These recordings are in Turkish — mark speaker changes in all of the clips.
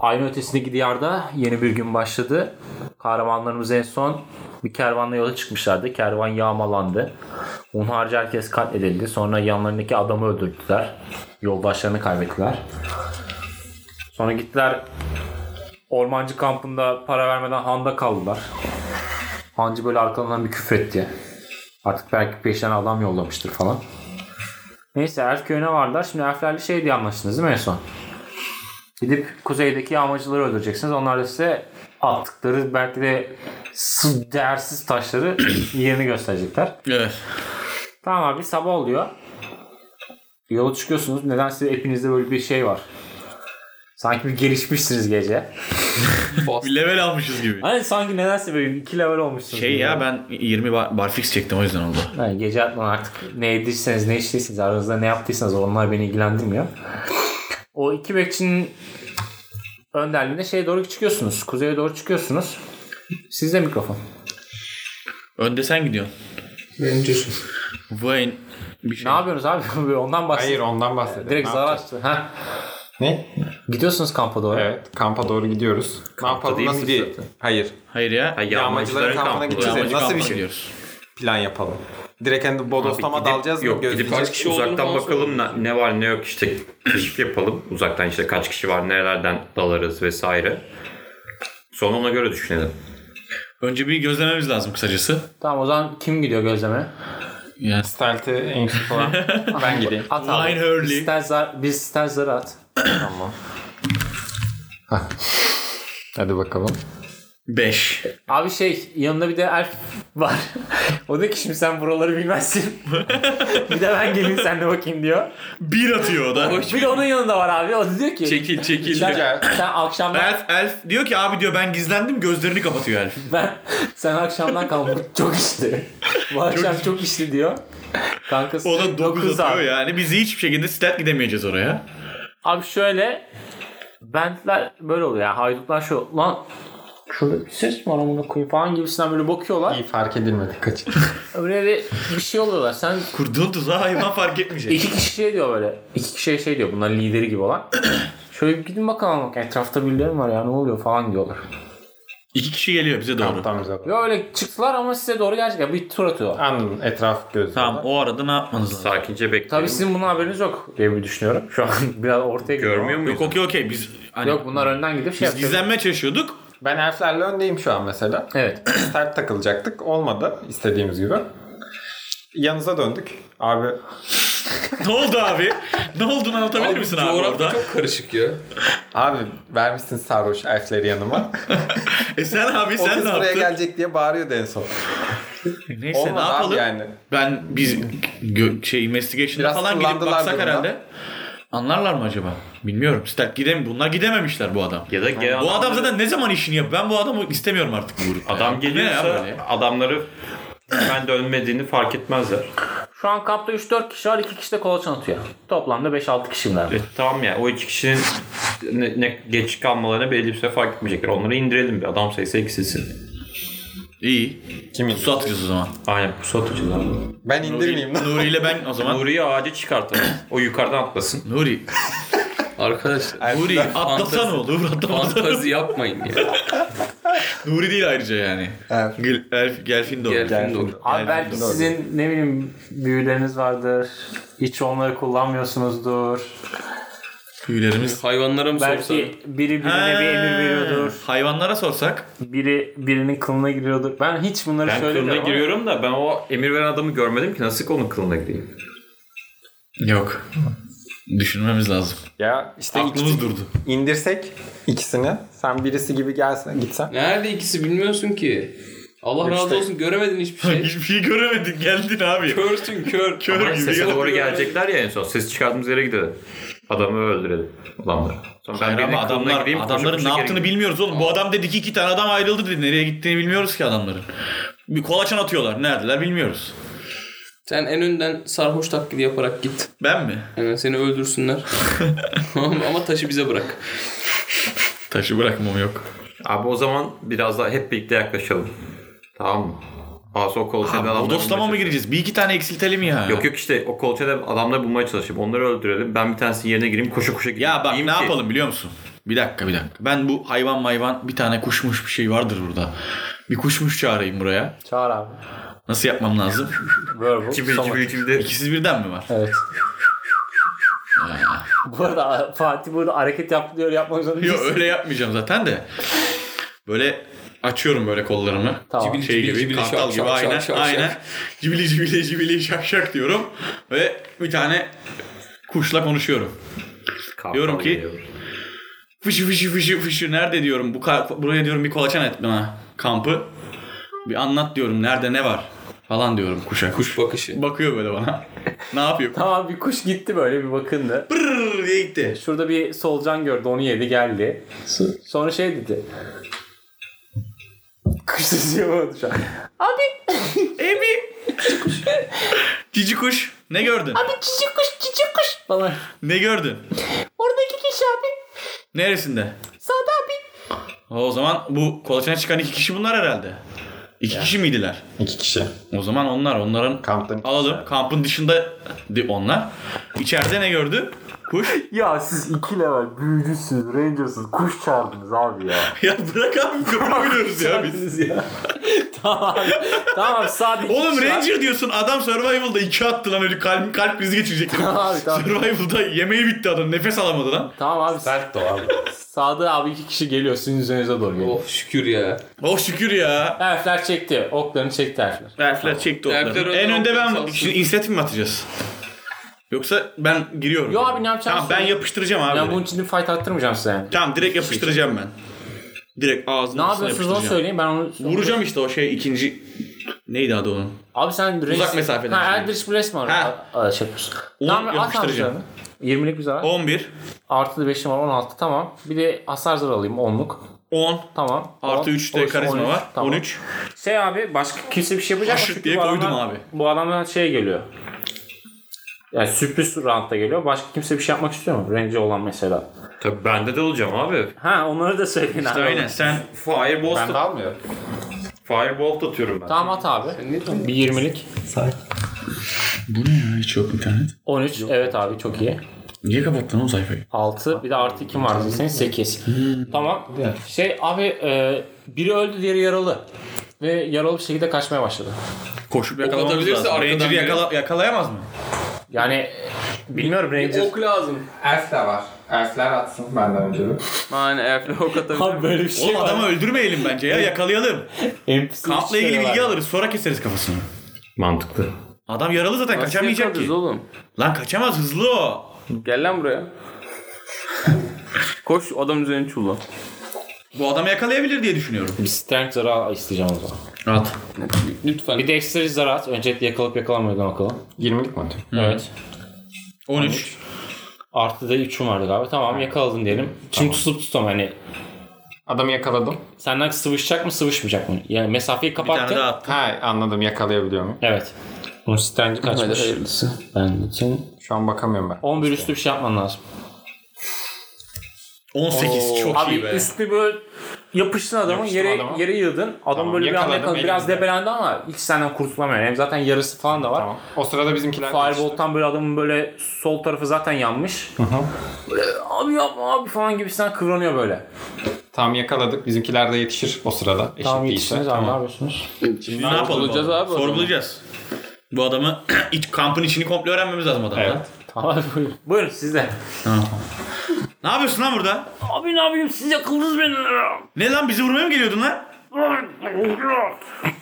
Speaker 1: Aynı ötesindeki diyarda yeni bir gün başladı. Kahramanlarımız en son bir kervanla yola çıkmışlardı. Kervan yağmalandı. Hunharca herkes katledildi. Sonra yanlarındaki adamı öldürdüler. Yoldaşlarını kaybettiler. Sonra gittiler ormancı kampında para vermeden handa kaldılar. Hancı böyle arkalarından bir küfretti. Artık belki peşten adam yollamıştır falan. Neyse Elf köyüne vardılar. Şimdi Elflerle şey diye anlaştınız değil mi en son? Gidip kuzeydeki yağmacıları öldüreceksiniz. Onlar da size attıkları belki de sı- değersiz taşları yerini gösterecekler.
Speaker 2: Evet.
Speaker 1: Tamam abi sabah oluyor. Yola çıkıyorsunuz. Nedense hepinizde böyle bir şey var. Sanki bir gelişmişsiniz gece.
Speaker 2: Bir level almışız gibi.
Speaker 1: Hani sanki nedense böyle iki level olmuşsunuz.
Speaker 2: Şey
Speaker 1: gibi.
Speaker 2: ya ben 20 bar, barfix çektim o yüzden oldu.
Speaker 1: Yani gece atman artık ne yediyseniz ne içtiyseniz aranızda ne yaptıysanız onlar beni ilgilendirmiyor. O iki bekçinin önderliğinde şeye doğru çıkıyorsunuz. Kuzeye doğru çıkıyorsunuz. Sizde mikrofon.
Speaker 2: Önde sen gidiyorsun.
Speaker 3: Öncüsün.
Speaker 2: Vayne bir şey.
Speaker 1: Ne yapıyorsunuz abi? Böyle Ondan bahsedin.
Speaker 3: Hayır ondan bahsedelim.
Speaker 1: Direkt
Speaker 3: Ne
Speaker 1: zar
Speaker 3: yapacağız?
Speaker 1: açtı. Heh.
Speaker 3: Ne?
Speaker 1: Gidiyorsunuz kampa doğru.
Speaker 3: Evet kampa doğru gidiyoruz. ne yapalım
Speaker 4: değil
Speaker 3: nasıl
Speaker 4: miyiz
Speaker 3: bir...
Speaker 4: zaten?
Speaker 3: Hayır
Speaker 2: Hayır ya.
Speaker 4: Ha,
Speaker 3: Yağmacıların
Speaker 4: yağmacıların
Speaker 3: kampına
Speaker 4: kampı.
Speaker 3: gideceğiz.
Speaker 2: Yağmacı
Speaker 3: Nasıl bir
Speaker 2: kampına
Speaker 3: şey?
Speaker 2: gidiyoruz.
Speaker 3: plan yapalım. Direkt hani bodoslama
Speaker 4: Gidip-
Speaker 3: dalacağız mı? şey
Speaker 4: Yok gidip
Speaker 3: Gözleyeceğiz
Speaker 4: kaç kişi
Speaker 3: mi?
Speaker 4: uzaktan bakalım ne, ne var ne yok işte keşif yapalım. Uzaktan işte kaç kişi var nerelerden dalarız vesaire. Sonra ona göre düşünelim.
Speaker 2: Önce bir gözlememiz lazım kısacası.
Speaker 1: Tamam o zaman kim gidiyor gözleme?
Speaker 2: Yani
Speaker 3: Stealth'e en iyisi falan. ben gideyim.
Speaker 1: At abi.
Speaker 2: Line Hurley.
Speaker 1: Biz Sterzar, biz Sterzar'ı at.
Speaker 3: tamam. Hadi bakalım.
Speaker 2: 5.
Speaker 1: Abi şey yanında bir de Elf var. o da ki şimdi sen buraları bilmezsin. bir de ben geleyim senle bakayım diyor.
Speaker 2: 1 atıyor o da.
Speaker 1: Bir de onun yanında var abi. O da diyor
Speaker 3: Şey,
Speaker 1: ki
Speaker 2: Çekil çekil.
Speaker 1: sen, sen akşamdan
Speaker 2: Elf, elf diyor ki abi diyor ben gizlendim gözlerini kapatıyor elf.
Speaker 1: ben sen akşamdan kalmadın. Çok işti. Bu akşam çok, işti diyor. Kankası
Speaker 2: O da 9
Speaker 1: dokuz
Speaker 2: atıyor
Speaker 1: abi.
Speaker 2: yani. Biz hiçbir şekilde stat gidemeyeceğiz oraya.
Speaker 1: Abi şöyle bentler böyle oluyor ya. Haydutlar şu lan şurada bir ses mi var amına koyayım falan gibisinden böyle bakıyorlar.
Speaker 3: İyi fark edilmedi. Kaç.
Speaker 1: Öyle bir, bir şey oluyorlar. Sen
Speaker 2: Kurduğun tuzağı hayvan fark etmeyecek.
Speaker 1: İki kişi şey diyor böyle. İki kişi şey diyor. Bunların lideri gibi olan. Şöyle bir gidin bakalım. bak, Etrafta birileri mi var ya ne oluyor falan diyorlar.
Speaker 2: İki kişi geliyor bize doğru.
Speaker 3: Tam bize bak.
Speaker 1: Ve öyle çıktılar ama size doğru gerçekten bir tur atıyorlar.
Speaker 3: Anladım etraf gözlüyor.
Speaker 2: Tamam o arada ne yapmanız lazım?
Speaker 4: Sakince bekleyelim.
Speaker 1: Tabii sizin bunun haberiniz yok diye bir düşünüyorum. Şu an biraz ortaya gidiyor.
Speaker 4: Görmüyor muyuz?
Speaker 2: Yok okey okey biz hani
Speaker 1: Yok bunlar önden gidip şey
Speaker 2: biz
Speaker 1: yapıyor.
Speaker 2: gizlenmeye çalışıyorduk.
Speaker 3: Ben elflerle öndeyim şu an mesela.
Speaker 1: Evet.
Speaker 3: Start takılacaktık. Olmadı istediğimiz gibi. Yanınıza döndük. Abi
Speaker 2: ne oldu abi? Ne olduğunu anlatabilir misin abi
Speaker 5: Coğrafya
Speaker 2: orada?
Speaker 5: çok karışık ya.
Speaker 3: abi vermişsin sarhoş elfleri yanıma.
Speaker 2: E sen abi
Speaker 3: o
Speaker 2: sen
Speaker 3: kız
Speaker 2: ne
Speaker 3: buraya
Speaker 2: yaptın?
Speaker 3: gelecek diye bağırıyordu en son.
Speaker 2: Neyse
Speaker 3: Olmadı
Speaker 2: ne yapalım?
Speaker 3: abi yani.
Speaker 2: Ben biz gö- şey investigation'a
Speaker 3: Biraz
Speaker 2: falan gidip
Speaker 3: kullandılar
Speaker 2: baksak
Speaker 3: durumda.
Speaker 2: herhalde. Anlarlar mı acaba? Bilmiyorum. Stat gidem bunlar gidememişler bu adam.
Speaker 4: Ya da genel
Speaker 2: Bu adam
Speaker 4: anlamda-
Speaker 2: zaten ne zaman işini yap? Ben bu adamı istemiyorum artık bu grupta.
Speaker 4: adam
Speaker 2: Bu ne ya
Speaker 4: geliyorsa
Speaker 2: böyle?
Speaker 4: adamları ben dönmediğini fark etmezler.
Speaker 1: Şu an kampta 3-4 kişi var. 2 kişi de kolaçan atıyor. Toplamda 5-6 kişiler.
Speaker 4: E, tamam ya o iki kişinin ne, ne- geç kalmalarına belli bir süre fark etmeyecekler. Onları indirelim bir adam sayısı eksilsin.
Speaker 2: İyi.
Speaker 3: Kimin?
Speaker 2: Su atacağız o zaman.
Speaker 4: Aynen pusu atacağız abi.
Speaker 3: Ben indirmeyeyim.
Speaker 2: Nuri ile ben o zaman.
Speaker 4: Nuri'yi ağaca çıkartalım. o yukarıdan atlasın.
Speaker 2: Nuri.
Speaker 5: Arkadaşlar
Speaker 2: Nuri
Speaker 3: Elfler-
Speaker 2: atlasan oldu. Atlamasana.
Speaker 5: fantazi yapmayın ya.
Speaker 2: Nuri değil ayrıca yani.
Speaker 3: Elf.
Speaker 2: Gel, elf, Gelfindor.
Speaker 5: Gelfindor.
Speaker 1: Abi belki
Speaker 2: Gelfindor.
Speaker 1: sizin ne bileyim büyüleriniz vardır. Hiç onları kullanmıyorsunuzdur.
Speaker 2: Tüylerimiz.
Speaker 5: Hayvanlara mı sorsan?
Speaker 1: Belki biri birine bir emir veriyordur.
Speaker 2: Ha, Hayvanlara sorsak.
Speaker 1: Biri birinin kılına giriyordur. Ben hiç bunları
Speaker 4: Ben kılına
Speaker 1: söylemiyorum. ama-
Speaker 4: giriyorum da ben o emir veren adamı görmedim ki nasıl onun kılına gireyim?
Speaker 2: Yok. Düşünmemiz lazım.
Speaker 3: Ya işte
Speaker 2: Aklımız durdu.
Speaker 3: indirsek ikisini. Sen birisi gibi gelsen gitsen.
Speaker 5: Nerede ikisi bilmiyorsun ki. Allah
Speaker 3: İşte-
Speaker 5: razı olsun göremedin hiçbir şey.
Speaker 2: Hiçbir şey göremedik. Geldin abi.
Speaker 5: Körsün kör.
Speaker 2: Kör
Speaker 4: Ama
Speaker 2: gibi.
Speaker 4: sese
Speaker 2: yapıyor.
Speaker 4: doğru gelecekler ya en son. Ses çıkardığımız yere gidelim. Adamı öldürelim. Adamları. Sonra ben
Speaker 2: Hayır
Speaker 4: birinin
Speaker 2: ama
Speaker 4: kılına
Speaker 2: adamlar,
Speaker 4: gireyim, koşup
Speaker 2: adamların
Speaker 4: koşup
Speaker 2: ne
Speaker 4: geri
Speaker 2: yaptığını
Speaker 4: gideyim.
Speaker 2: bilmiyoruz oğlum. Bu adam dedi ki iki tane adam ayrıldı dedi. Nereye gittiğini bilmiyoruz ki adamların. Bir kolaçan atıyorlar. Neredeler bilmiyoruz.
Speaker 5: Sen en önden sarhoş taklidi yaparak git.
Speaker 2: Ben mi?
Speaker 5: Yani seni öldürsünler. Ama taşı bize bırak.
Speaker 2: Taşı bırakmam yok.
Speaker 4: Abi o zaman biraz daha hep birlikte yaklaşalım. Tamam mı? Bazı o kol çenen
Speaker 2: Abi,
Speaker 4: adamları
Speaker 2: bodoslama mı
Speaker 4: bulmaya
Speaker 2: gireceğiz? Bir iki tane eksiltelim ya.
Speaker 4: Yok yok işte o kol çenen adamları bulmaya çalışayım. Onları öldürelim. Ben bir tanesinin yerine gireyim koşu koşu gideyim.
Speaker 2: Ya bak
Speaker 4: Diyeyim
Speaker 2: ne
Speaker 4: ki,
Speaker 2: yapalım biliyor musun? Bir dakika bir dakika. Ben bu hayvan mayvan bir tane kuşmuş bir şey vardır burada. Bir kuşmuş çağırayım buraya.
Speaker 1: Çağır abi.
Speaker 2: Nasıl yapmam lazım?
Speaker 1: Werewolf.
Speaker 4: Cibir
Speaker 1: Soma.
Speaker 4: cibir cibir.
Speaker 2: İkisi birden mi var?
Speaker 1: Evet. bu arada Fatih burada hareket yaptı diyor yapmak zorunda
Speaker 2: Yok
Speaker 1: değilsin.
Speaker 2: öyle yapmayacağım zaten de. Böyle açıyorum böyle kollarımı.
Speaker 1: Tamam.
Speaker 2: Cibili, şey
Speaker 5: Cibili,
Speaker 2: gibi,
Speaker 5: cibili,
Speaker 2: kartal
Speaker 5: şak,
Speaker 2: gibi
Speaker 5: şak, şak,
Speaker 2: aynen.
Speaker 5: şak,
Speaker 2: aynen.
Speaker 5: şak.
Speaker 2: Cibili cibili cibili şak şak diyorum. Ve bir tane kuşla konuşuyorum. Diyorum ki- Fışı fışı fışı fışı nerede diyorum bu ka- buraya diyorum bir kolaçan et bana kampı. Bir anlat diyorum nerede ne var falan diyorum kuşa. Kuş
Speaker 5: Kuş bakışı.
Speaker 2: bakıyor böyle bana. ne yapıyor?
Speaker 1: Tamam bir kuş gitti böyle bir bakındı. E,
Speaker 2: Brrr diye gitti.
Speaker 1: Şurada bir solucan gördü onu yedi geldi. Sonra şey dedi. Kuş sesi yapamadı şu an.
Speaker 2: Ebi. Cici kuş. Ne gördün?
Speaker 1: Abi cici kuş cici kuş falan.
Speaker 2: Ne gördün?
Speaker 1: Oradaki kişi abi.
Speaker 2: Neresinde?
Speaker 1: Sağda abi.
Speaker 2: O zaman bu kolaçana çıkan iki kişi bunlar herhalde. İki kişi miydiler?
Speaker 3: İki kişi.
Speaker 2: O zaman onlar onların
Speaker 3: Kamptan iki
Speaker 2: alalım. Kampın dışında di- onlar. İçeride ne gördü? Kuş.
Speaker 1: Ya siz iki level büyücüsünüz, rangersınız, kuş çağırdınız abi ya.
Speaker 2: ya bırak abi kıpırmıyoruz ya biz.
Speaker 1: Çağırdınız ya. tamam. Tamam sadece.
Speaker 2: Oğlum Ranger diyorsun adam Survival'da iki attı lan öyle kalp, kalp krizi geçirecek.
Speaker 1: Abi, tamam.
Speaker 2: Survival'da yemeği bitti adam nefes alamadı lan.
Speaker 1: Tamam abi.
Speaker 3: Sert de o abi.
Speaker 1: Sağda abi iki kişi geliyor sizin üzerinize doğru geliyor.
Speaker 5: Oh şükür ya.
Speaker 2: Oh şükür ya.
Speaker 1: Elfler çekti. Oklarını çekti elfler.
Speaker 2: Elfler çekti oklarını.
Speaker 5: Elfler
Speaker 2: En
Speaker 5: önden
Speaker 2: önde
Speaker 5: okları
Speaker 2: ben
Speaker 5: salsın.
Speaker 2: şimdi inisiyatif mi atacağız? Yoksa ben giriyorum.
Speaker 1: Yo abi ne yapacağım?
Speaker 2: Tamam ben yapıştıracağım abi.
Speaker 1: Ya bunun için de fight attırmayacağım size yani.
Speaker 2: Tamam direkt yapıştıracağım ben. Direkt
Speaker 1: Ne
Speaker 2: ağzına
Speaker 1: yapıyorsunuz onu söyleyin ben onu
Speaker 2: Vuracağım işte o şey ikinci neydi adı onun?
Speaker 1: Abi sen res...
Speaker 2: Uzak mesafeden
Speaker 1: Ha
Speaker 2: şimdi.
Speaker 1: Eldritch Blast var.
Speaker 2: Ha.
Speaker 1: Ha. Şey yapıyorsun.
Speaker 2: Onu
Speaker 1: Tamam at
Speaker 2: yapıştıracağım.
Speaker 1: hamzelerini. 20'lik güzel.
Speaker 2: 11,
Speaker 1: Artı 5'im var 16 tamam. Bir de hasar zarı alayım 10'luk.
Speaker 2: 10,
Speaker 1: Tamam.
Speaker 2: artı 3 de karizma var. 13.
Speaker 1: Şey abi başka kimse bir şey yapacak mı?
Speaker 2: Haşır
Speaker 1: Çünkü
Speaker 2: diye
Speaker 1: bu
Speaker 2: koydum
Speaker 1: adamlar-
Speaker 2: abi.
Speaker 1: Bu adamdan şey geliyor. Yani sürpriz roundda geliyor. Başka kimse bir şey yapmak istiyor mu? Range olan mesela.
Speaker 4: Tabii bende de olacağım abi.
Speaker 1: Ha onları da söyleyin abi.
Speaker 2: Aynen sen
Speaker 4: Fireball,
Speaker 3: Ben de
Speaker 4: at-
Speaker 3: almıyorum.
Speaker 4: Fireball atıyorum ben.
Speaker 1: Tamam at abi. Bir 20'lik.
Speaker 2: hiç yok internet.
Speaker 1: 13. Evet abi çok iyi.
Speaker 2: Niye kapattın o sayfayı?
Speaker 1: 6 bir de artı 2 vardı senin 8. Tamam. Şey abi e, biri öldü diğeri yaralı. Ve yaralı bir şekilde kaçmaya başladı.
Speaker 2: Koşup yakalamamız
Speaker 5: Kapatabilirse
Speaker 2: lazım.
Speaker 5: arkadan
Speaker 2: Ranger'ı
Speaker 5: biri-
Speaker 2: yakala- yakalayamaz mı?
Speaker 1: Yani e, bilmiyorum Ranger.
Speaker 5: Ok lazım.
Speaker 6: Elf de var. Elfler atsın benden önce de.
Speaker 5: Aynen elfle ok atabilir.
Speaker 1: Abi böyle bir şey
Speaker 2: Oğlum
Speaker 1: var.
Speaker 2: adamı öldürmeyelim bence ya yakalayalım.
Speaker 1: NPC
Speaker 2: Kampla
Speaker 5: şey
Speaker 2: ilgili
Speaker 1: işleri
Speaker 2: bilgi
Speaker 1: var.
Speaker 2: alırız sonra keseriz kafasını.
Speaker 4: Mantıklı.
Speaker 2: Adam yaralı zaten kaçamayacak ki.
Speaker 5: Kaçamayacak oğlum.
Speaker 2: Lan kaçamaz hızlı o.
Speaker 5: Gel lan buraya. Koş adam üzerine çulla.
Speaker 2: Bu adamı yakalayabilir diye düşünüyorum.
Speaker 1: Bir strength zarı al- isteyeceğim o zaman.
Speaker 2: Rahat.
Speaker 5: Lütfen.
Speaker 1: Bir dexterity zarı at. Öncelikle yakalıp yakalanmadan bakalım.
Speaker 3: 20'lik mi atıyorum?
Speaker 1: Evet.
Speaker 2: 13.
Speaker 1: Artı da 3'üm vardı galiba. Tamam yakaladın diyelim. Şimdi tutup tutam hani.
Speaker 3: Adamı yakaladım.
Speaker 1: Senden sıvışacak mı sıvışmayacak mı? Yani mesafeyi
Speaker 2: Bir tane
Speaker 1: kapattın.
Speaker 2: daha at.
Speaker 3: Ha anladım yakalayabiliyor muyum?
Speaker 1: Evet. Bunun strength'i
Speaker 5: Hadi
Speaker 1: kaçmış.
Speaker 5: hayırlısı.
Speaker 1: Ben için.
Speaker 3: Şu an bakamıyorum ben.
Speaker 1: 11 üstü bir şey yapman lazım.
Speaker 2: 18 çok
Speaker 1: Abi
Speaker 2: iyi be.
Speaker 1: üstü böyle yapıştın adamın
Speaker 3: Yapıştım
Speaker 1: yere
Speaker 3: adama.
Speaker 1: yere yıldın. Adam
Speaker 3: Tamam,
Speaker 1: böyle bir anda
Speaker 3: yakaladım,
Speaker 1: yakaladı. Biraz
Speaker 3: elimizde.
Speaker 1: debelendi ama hiç senden kurtulamıyor. Hem zaten yarısı falan da var.
Speaker 3: Tamam. O sırada bizimkiler kaçtı.
Speaker 1: Firebolt'tan böyle adamın böyle sol tarafı zaten yanmış. Böyle, abi yapma abi falan gibisinden kıvranıyor böyle.
Speaker 3: Tam yakaladık. Bizimkiler de yetişir o sırada. Eşit
Speaker 1: Tamam
Speaker 3: değilse.
Speaker 1: yetiştiniz abi ne yapıyorsunuz?
Speaker 2: Biz ne yapalım?
Speaker 5: Sorgulayacağız
Speaker 2: bu adamı?
Speaker 5: abi o zaman.
Speaker 2: Sorgulayacağız. Bu adamı iç kampın içini komple öğrenmemiz lazım adamdan.
Speaker 3: Evet.
Speaker 1: Tamam abi, buyurun. Buyurun siz de.
Speaker 2: Ne yapıyorsun lan burada?
Speaker 1: Abi ne yapayım siz yakıldınız beni.
Speaker 2: Ne lan bizi vurmaya mı geliyordun lan?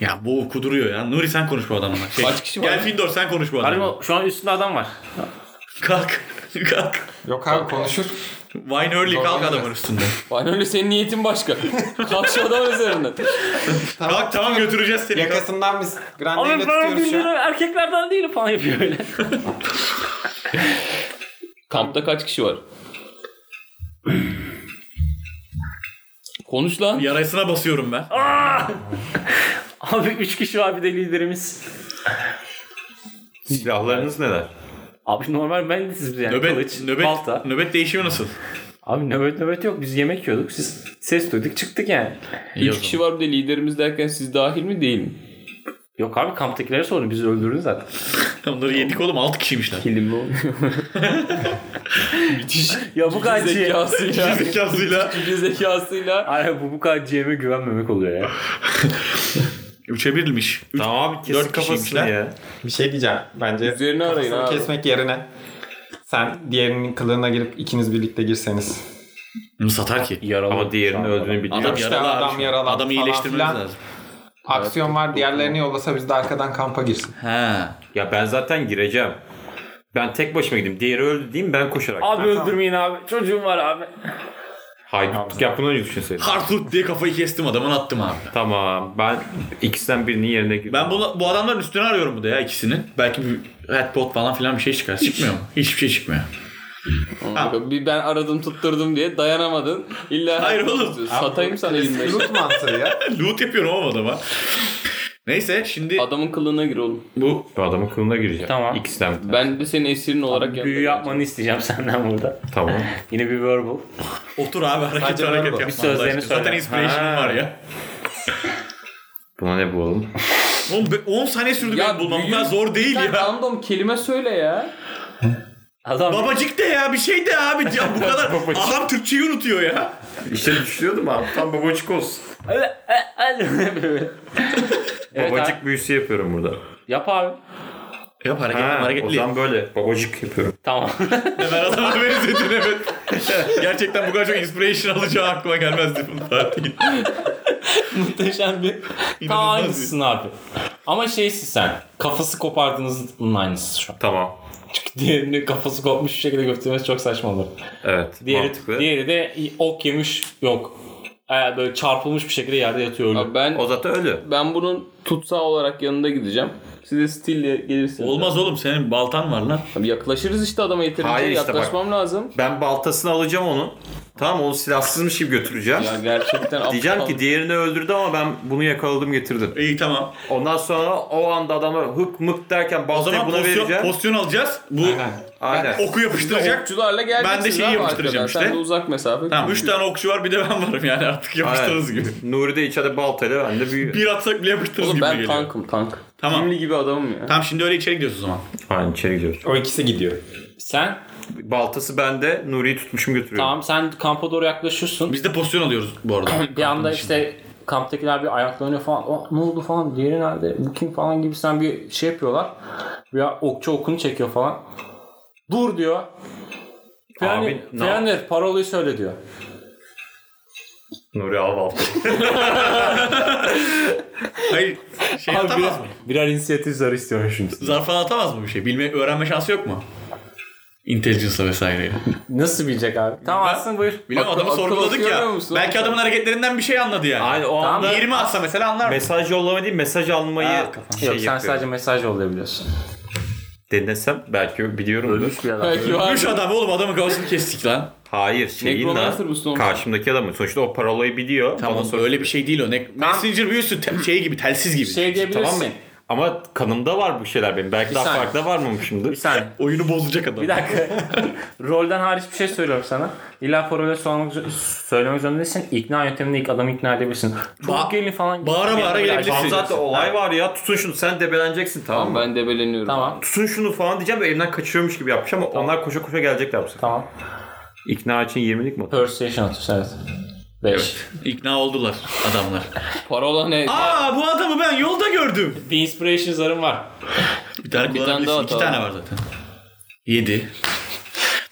Speaker 2: Ya bu kuduruyor ya. Nuri sen konuş bu adamla. Şey,
Speaker 5: Kaç kişi var
Speaker 2: Gel
Speaker 5: lan?
Speaker 2: Findor sen konuş bu adamla.
Speaker 1: Galiba şu an üstünde adam var.
Speaker 2: Kalk. kalk.
Speaker 3: Yok abi konuşur.
Speaker 2: Wine early kalk adamın üstünde.
Speaker 5: Lan öyle senin niyetin başka. Kalk şu adamın üzerinden.
Speaker 2: kalk tamam götüreceğiz seni. Kalk.
Speaker 3: Yakasından biz Grande'yle tutuyoruz şu an.
Speaker 1: erkeklerden değilim falan yapıyor öyle.
Speaker 5: Kampta kaç kişi var? Konuş lan.
Speaker 2: Yarasına basıyorum ben.
Speaker 1: Abi 3 kişi var bir de liderimiz.
Speaker 4: Silahlarınız neler?
Speaker 1: Abi normal ben de siz yani
Speaker 2: nöbet,
Speaker 1: kılıç,
Speaker 2: nöbet,
Speaker 1: balta.
Speaker 2: nöbet değişimi nasıl?
Speaker 1: Abi nöbet nöbet yok biz yemek yiyorduk siz ses duyduk çıktık yani.
Speaker 2: İyi o
Speaker 5: 3
Speaker 2: zaman.
Speaker 5: kişi var bir de liderimiz derken siz dahil mi değil mi?
Speaker 1: Yok abi kamptakilere sordum. Bizi öldürdü zaten.
Speaker 2: Onları yedik oğlum 6 kişiymişler.
Speaker 1: Kilimli olmuyor. ya bu kadar GM...
Speaker 5: Zekasıyla.
Speaker 2: Zekasıyla.
Speaker 5: Fikri zekasıyla.
Speaker 1: Ay, bu, bu kadar GM'e güvenmemek oluyor ya.
Speaker 2: 3'e 1'miş.
Speaker 4: Tamam abi
Speaker 2: dört
Speaker 4: kesik kafasını
Speaker 2: kişiymişler.
Speaker 4: ya.
Speaker 3: Bir şey diyeceğim. Bence
Speaker 5: Üzerine arayın
Speaker 3: kafasını
Speaker 5: abi.
Speaker 3: kesmek yerine sen diğerinin kılığına girip ikiniz birlikte girseniz.
Speaker 2: Satar ki.
Speaker 1: Yaralı.
Speaker 4: Ama diğerinin öldüğünü biliyor.
Speaker 2: Adam
Speaker 3: işte
Speaker 2: yaralı abi.
Speaker 3: adam yaralı falan
Speaker 2: Adamı iyileştirmemiz
Speaker 3: filan.
Speaker 2: lazım.
Speaker 3: Aksiyon var diğerlerini yollasa biz de arkadan kampa girsin.
Speaker 2: He.
Speaker 4: Ya ben zaten gireceğim. Ben tek başıma gideyim. Diğeri öldü diyeyim ben koşarak.
Speaker 1: Abi öldürmeyin abi. Çocuğum var abi.
Speaker 4: Haydutluk yaptığını önce düşünseydim.
Speaker 2: Kartlut diye kafayı kestim adamın attım abi.
Speaker 4: Tamam ben ikisinden birinin yerine girdim.
Speaker 2: Ben bu, bu adamların üstüne arıyorum bu da ya ikisini. Belki bir headbot falan filan bir şey çıkar. Çıkmıyor mu? Hiçbir şey çıkmıyor.
Speaker 5: Abi, Bir ben aradım tutturdum diye dayanamadın. İlla
Speaker 2: Hayır oğlum.
Speaker 5: Abi, Satayım sana 25.
Speaker 3: Loot mantığı ya.
Speaker 2: Loot yapıyorum oğlum adama. Neyse şimdi
Speaker 5: Adamın kılığına gir oğlum.
Speaker 2: bu
Speaker 4: Bu adamın kılına gireceğim.
Speaker 1: Tamam.
Speaker 4: İkisinden bir tane.
Speaker 5: Ben de senin esirin olarak yap.
Speaker 1: Büyü yapmanı isteyeceğim senden burada.
Speaker 4: Tamam.
Speaker 1: Yine bir verbal.
Speaker 2: otur abi hareket
Speaker 3: Sadece
Speaker 2: hareket
Speaker 3: ben bu.
Speaker 2: yapma.
Speaker 1: Bir sözlerini
Speaker 2: Allah aşkına.
Speaker 1: söyle.
Speaker 2: Zaten inspiration'ım
Speaker 1: Ha.
Speaker 2: var ya.
Speaker 4: Buna ne bulalım?
Speaker 2: Oğlum be- 10 saniye sürdü
Speaker 5: Ya
Speaker 2: benim bulmam.
Speaker 5: büyü-
Speaker 2: Bunlar zor değil
Speaker 5: Sen
Speaker 2: ya.
Speaker 5: random kelime söyle ya.
Speaker 1: Adam
Speaker 2: Babacık de ya bir şey de abi. Ya bu kadar adam Türkçeyi unutuyor ya.
Speaker 4: İşte düşünüyordum abi. Tam babacık olsun.
Speaker 1: Evet
Speaker 4: babacık
Speaker 1: abi.
Speaker 4: büyüsü yapıyorum burada.
Speaker 1: Yap abi.
Speaker 2: Yap hareketli
Speaker 4: Ha, o
Speaker 2: hareketli.
Speaker 4: zaman böyle babacık yapıyorum.
Speaker 1: Tamam.
Speaker 2: Ben adama benzettim evet. Gerçekten bu kadar çok inspiration alacağı aklıma gelmezdi bu tatil.
Speaker 1: Muhteşem bir. Tam
Speaker 2: İnanılmaz
Speaker 1: aynısın abi. Ama şeysin sen. Kafası kopardığınızın aynısı şu an.
Speaker 4: Tamam.
Speaker 1: Çünkü diğerini kafası kopmuş bir şekilde götürmesi çok saçma olur.
Speaker 4: Evet.
Speaker 1: Diğeri,
Speaker 4: mantıklı.
Speaker 1: diğeri de ok yemiş yok. Ee, böyle çarpılmış bir şekilde yerde yatıyor öyle.
Speaker 5: Abi ben
Speaker 4: O zaten ölü.
Speaker 5: ben bunun tutsağı olarak yanında gideceğim. Siz de stille gelirsiniz.
Speaker 2: Olmaz oğlum senin baltan var lan.
Speaker 5: Abi yaklaşırız işte adama yeterince
Speaker 4: Hayır işte bak.
Speaker 5: yaklaşmam lazım.
Speaker 4: Ben baltasını alacağım onun. Tamam onu silahsızmış gibi götüreceğim.
Speaker 5: Ya gerçekten aptal.
Speaker 4: Diyeceğim ki diğerini öldürdü ama ben bunu yakaladım getirdim.
Speaker 2: İyi tamam.
Speaker 4: Ondan sonra o anda adama hık mık derken
Speaker 2: O
Speaker 4: baltayı
Speaker 2: zaman
Speaker 4: buna
Speaker 2: pozisyon,
Speaker 4: vereceğim.
Speaker 2: pozisyon alacağız. Bu
Speaker 4: Aynen.
Speaker 2: oku yapıştıracak.
Speaker 5: okçularla geleceksiniz
Speaker 2: Ben de şeyi
Speaker 5: abi
Speaker 2: yapıştıracağım
Speaker 5: arkadan.
Speaker 2: işte.
Speaker 5: Sen de uzak mesafe.
Speaker 2: Tamam 3 tane okçu var bir de ben varım yani artık yapıştırırız gibi.
Speaker 4: Nuri de içeride baltayla ben de büyüyorum.
Speaker 2: Bir atsak bile yapıştırırız
Speaker 5: Oğlum
Speaker 2: gibi
Speaker 5: ben
Speaker 2: geliyor.
Speaker 5: tankım tank.
Speaker 2: Tamam.
Speaker 5: Kimli gibi adamım ya.
Speaker 2: Tamam şimdi öyle içeri gidiyoruz o zaman.
Speaker 4: Aynen içeri gidiyoruz.
Speaker 3: O ikisi gidiyor.
Speaker 1: Sen
Speaker 4: Baltası bende Nuri'yi tutmuşum götürüyorum.
Speaker 1: tamam sen kampa doğru yaklaşıyorsun.
Speaker 2: Biz de pozisyon alıyoruz bu arada.
Speaker 1: bir anda işte kamptakiler bir ayaklanıyor falan. "Aa, ne oldu falan diğeri nerede bu kim falan gibisinden bir şey yapıyorlar. Bir okçu okunu çekiyor falan. Dur diyor.
Speaker 4: Abi,
Speaker 1: Yani,
Speaker 4: ne yap-
Speaker 1: yani parolayı söyle diyor.
Speaker 4: Nuri al baltayı.
Speaker 2: Hayır şey atamaz mı?
Speaker 1: birer inisiyatif zarı istiyorum şimdi.
Speaker 2: Zarf falan atamaz mı bir şey? Bilme, öğrenme şansı yok mu? Intelligence'la vesaireyle.
Speaker 1: Nasıl bilecek abi? Tamam aslın buyur.
Speaker 2: Bilemem
Speaker 5: Akıl-
Speaker 2: adamı
Speaker 5: akıl
Speaker 2: sorguladık ya.
Speaker 5: okuyamıyor musun?
Speaker 2: Belki adamın hareketlerinden bir şey anladı yani.
Speaker 4: Aynen o
Speaker 1: Tamam,
Speaker 4: anda
Speaker 2: 20 atsa mesela anlar.
Speaker 4: mesaj yollama değil mesaj almayı
Speaker 2: Ha, kafam.
Speaker 4: şey
Speaker 1: Yok sen
Speaker 4: yapıyorum.
Speaker 1: sadece mesaj yollayabiliyorsun.
Speaker 4: Denesem belki biliyorum.
Speaker 1: bir adam.
Speaker 5: Belki var.
Speaker 2: Üç adam oğlum adamın kafasını kestik lan.
Speaker 4: Hayır şeyin
Speaker 5: Necromancer
Speaker 4: lan
Speaker 5: bu sonuçta.
Speaker 4: karşımdaki adamı. Sonuçta o parolayı biliyor.
Speaker 2: Tamam
Speaker 4: Bana soruyor.
Speaker 2: öyle bir şey değil o. Ne, Messenger büyüsü te- şey gibi telsiz gibi.
Speaker 1: Şey diyebilirsin.
Speaker 4: Tamam mı? Ama kanımda var bu şeyler benim. Belki daha
Speaker 1: saniye.
Speaker 4: farklı var mı şimdi?
Speaker 1: Bir saniye.
Speaker 2: Oyunu bozacak adam.
Speaker 1: Bir dakika. Rolden hariç bir şey söylüyorum sana. İlla parole sormak, söylemek zorunda değilsin. İkna yönteminde ilk adamı ikna edebilirsin. Çok
Speaker 2: Ba-
Speaker 1: gelin falan.
Speaker 2: bağıra
Speaker 1: gelin
Speaker 2: bağıra
Speaker 1: falan.
Speaker 2: gelebilirsin.
Speaker 4: Tamam zaten olay var ya tutun şunu sen debeleneceksin tamam mı?
Speaker 5: Tamam ben debeleniyorum.
Speaker 1: Tamam.
Speaker 4: Tutun şunu falan diyeceğim de elimden kaçırıyormuş gibi yapmış ama onlar koşa koşa gelecekler bu sefer.
Speaker 1: Tamam.
Speaker 4: İkna için 20'lik mi?
Speaker 1: Persuasion atıyorsun evet. 5.
Speaker 2: İkna oldular adamlar.
Speaker 5: Parola ne?
Speaker 2: Aa bu adamı ben yolda gördüm.
Speaker 1: Bir inspiration zarım var.
Speaker 2: Bir tane
Speaker 5: Bir tane
Speaker 2: kullanabilirsin.
Speaker 5: daha
Speaker 2: İki
Speaker 5: atalım.
Speaker 2: tane var zaten. Yedi.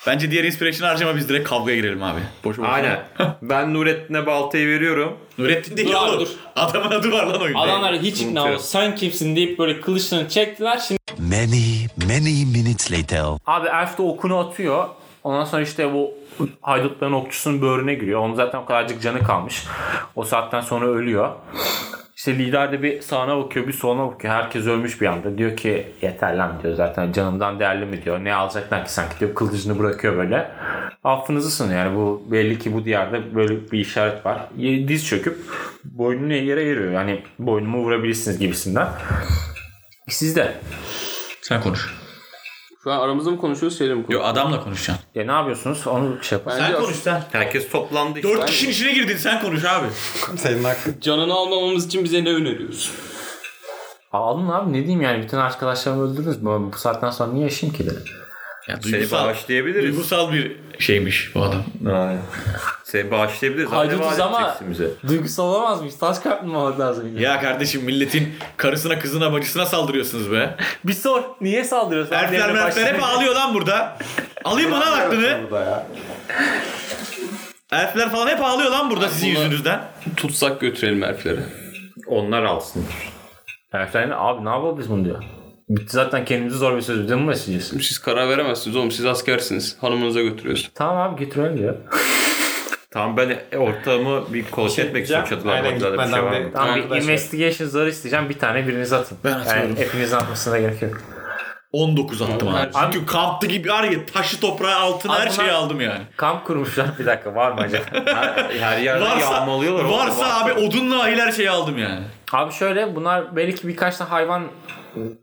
Speaker 2: Bence diğer inspiration'ı harcama biz direkt kavgaya girelim abi. Boş boş.
Speaker 4: Aynen. ben Nurettin'e baltayı veriyorum.
Speaker 2: Nurettin değil
Speaker 1: Dur abi,
Speaker 2: oğlum.
Speaker 1: dur.
Speaker 2: Adamın adı var lan oyunda.
Speaker 1: Adamlar hiç ikna olmaz. Sen kimsin deyip böyle kılıçlarını çektiler. Şimdi
Speaker 7: Many, many minutes later.
Speaker 1: Abi Elf de okunu atıyor. Ondan sonra işte bu haydutların okçusunun böğrüne giriyor. Onun zaten o kadarcık canı kalmış. O saatten sonra ölüyor. İşte lider de bir sağına bakıyor bir soluna bakıyor. Herkes ölmüş bir anda. Diyor ki yeter lan diyor zaten canımdan değerli mi diyor. Ne alacaklar ki sanki diyor. Kılıcını bırakıyor böyle. Affınızı sın yani bu belli ki bu diyarda böyle bir işaret var. Y- Diz çöküp boynunu yere yeriyor. Yani boynumu vurabilirsiniz gibisinden. Siz de.
Speaker 2: Sen konuş.
Speaker 5: Şu an aramızda mı konuşuyoruz şeyle mi konuşuyoruz?
Speaker 2: Yo adamla konuşacaksın.
Speaker 1: Ya ne yapıyorsunuz? Onu şey yapın.
Speaker 5: Bence
Speaker 2: sen.
Speaker 4: Herkes toplandı. işte.
Speaker 2: Dört kişinin içine girdin sen konuş abi.
Speaker 3: Senin hakkın.
Speaker 5: Canını almamamız için bize ne öneriyorsun?
Speaker 1: Alın abi ne diyeyim yani bütün arkadaşlarımı öldürürüz. Ben bu saatten sonra niye yaşayayım ki dedim.
Speaker 2: Yani
Speaker 4: Seni
Speaker 2: duygusal,
Speaker 4: Şey bağışlayabiliriz.
Speaker 2: duygusal bir şeymiş bu adam.
Speaker 4: Aynen. Seni Şey bağışlayabiliriz. Hadi
Speaker 1: Haydutuz
Speaker 4: vaat
Speaker 1: ama-
Speaker 4: edeceksin bize.
Speaker 1: Duygusal olamaz mıyız? Taş kalp mi olmak lazım? Ya.
Speaker 2: Ya kardeşim milletin karısına kızına bacısına saldırıyorsunuz be.
Speaker 1: Bir sor. Niye saldırıyorsun?
Speaker 2: Erfler merfler hep ağlıyor lan burada. Alayım bana aklını.
Speaker 3: Burada ya.
Speaker 2: Elfler falan hep ağlıyor lan burada sizin
Speaker 5: Buna-
Speaker 2: yüzünüzden.
Speaker 5: Tutsak götürelim herifleri.
Speaker 4: Onlar alsın.
Speaker 1: Erfler abi ne yapalım biz bunu diyor. Bitti zaten kendimizi zor bir söz. Bir de bunu besleyeceğiz.
Speaker 5: Siz karar veremezsiniz oğlum siz askersiniz. Hanımınıza götürüyorsun.
Speaker 1: Tamam abi götürelim diyor.
Speaker 4: Tamam ben ortamı bir kontrol etmek istiyorum. Çatılar
Speaker 3: Aynen
Speaker 4: bakılarda bir şey var
Speaker 3: gitmeden
Speaker 4: mı?
Speaker 3: bir
Speaker 1: Tamam bir
Speaker 3: Arkadaşlar.
Speaker 1: investigation zarı isteyeceğim. Bir tane biriniz atın.
Speaker 2: Ben atıyorum.
Speaker 1: Yani hepinizin atmasına gerek yok.
Speaker 2: 19 attım
Speaker 5: Her
Speaker 2: abi.
Speaker 5: şey-
Speaker 2: Çünkü kaptı gibi var ya taşı toprağı altına
Speaker 1: Abi
Speaker 2: her şeyi
Speaker 1: bunlar-
Speaker 2: aldım yani.
Speaker 1: Kamp kurmuşlar. Bir dakika var mı acaba?
Speaker 4: Her yerde
Speaker 2: Varsa,
Speaker 4: yağmalıyorlar. oğlum.
Speaker 2: varsa abi odunla ahil her şeyi aldım yani.
Speaker 1: Abi şöyle bunlar belki birkaç tane hayvan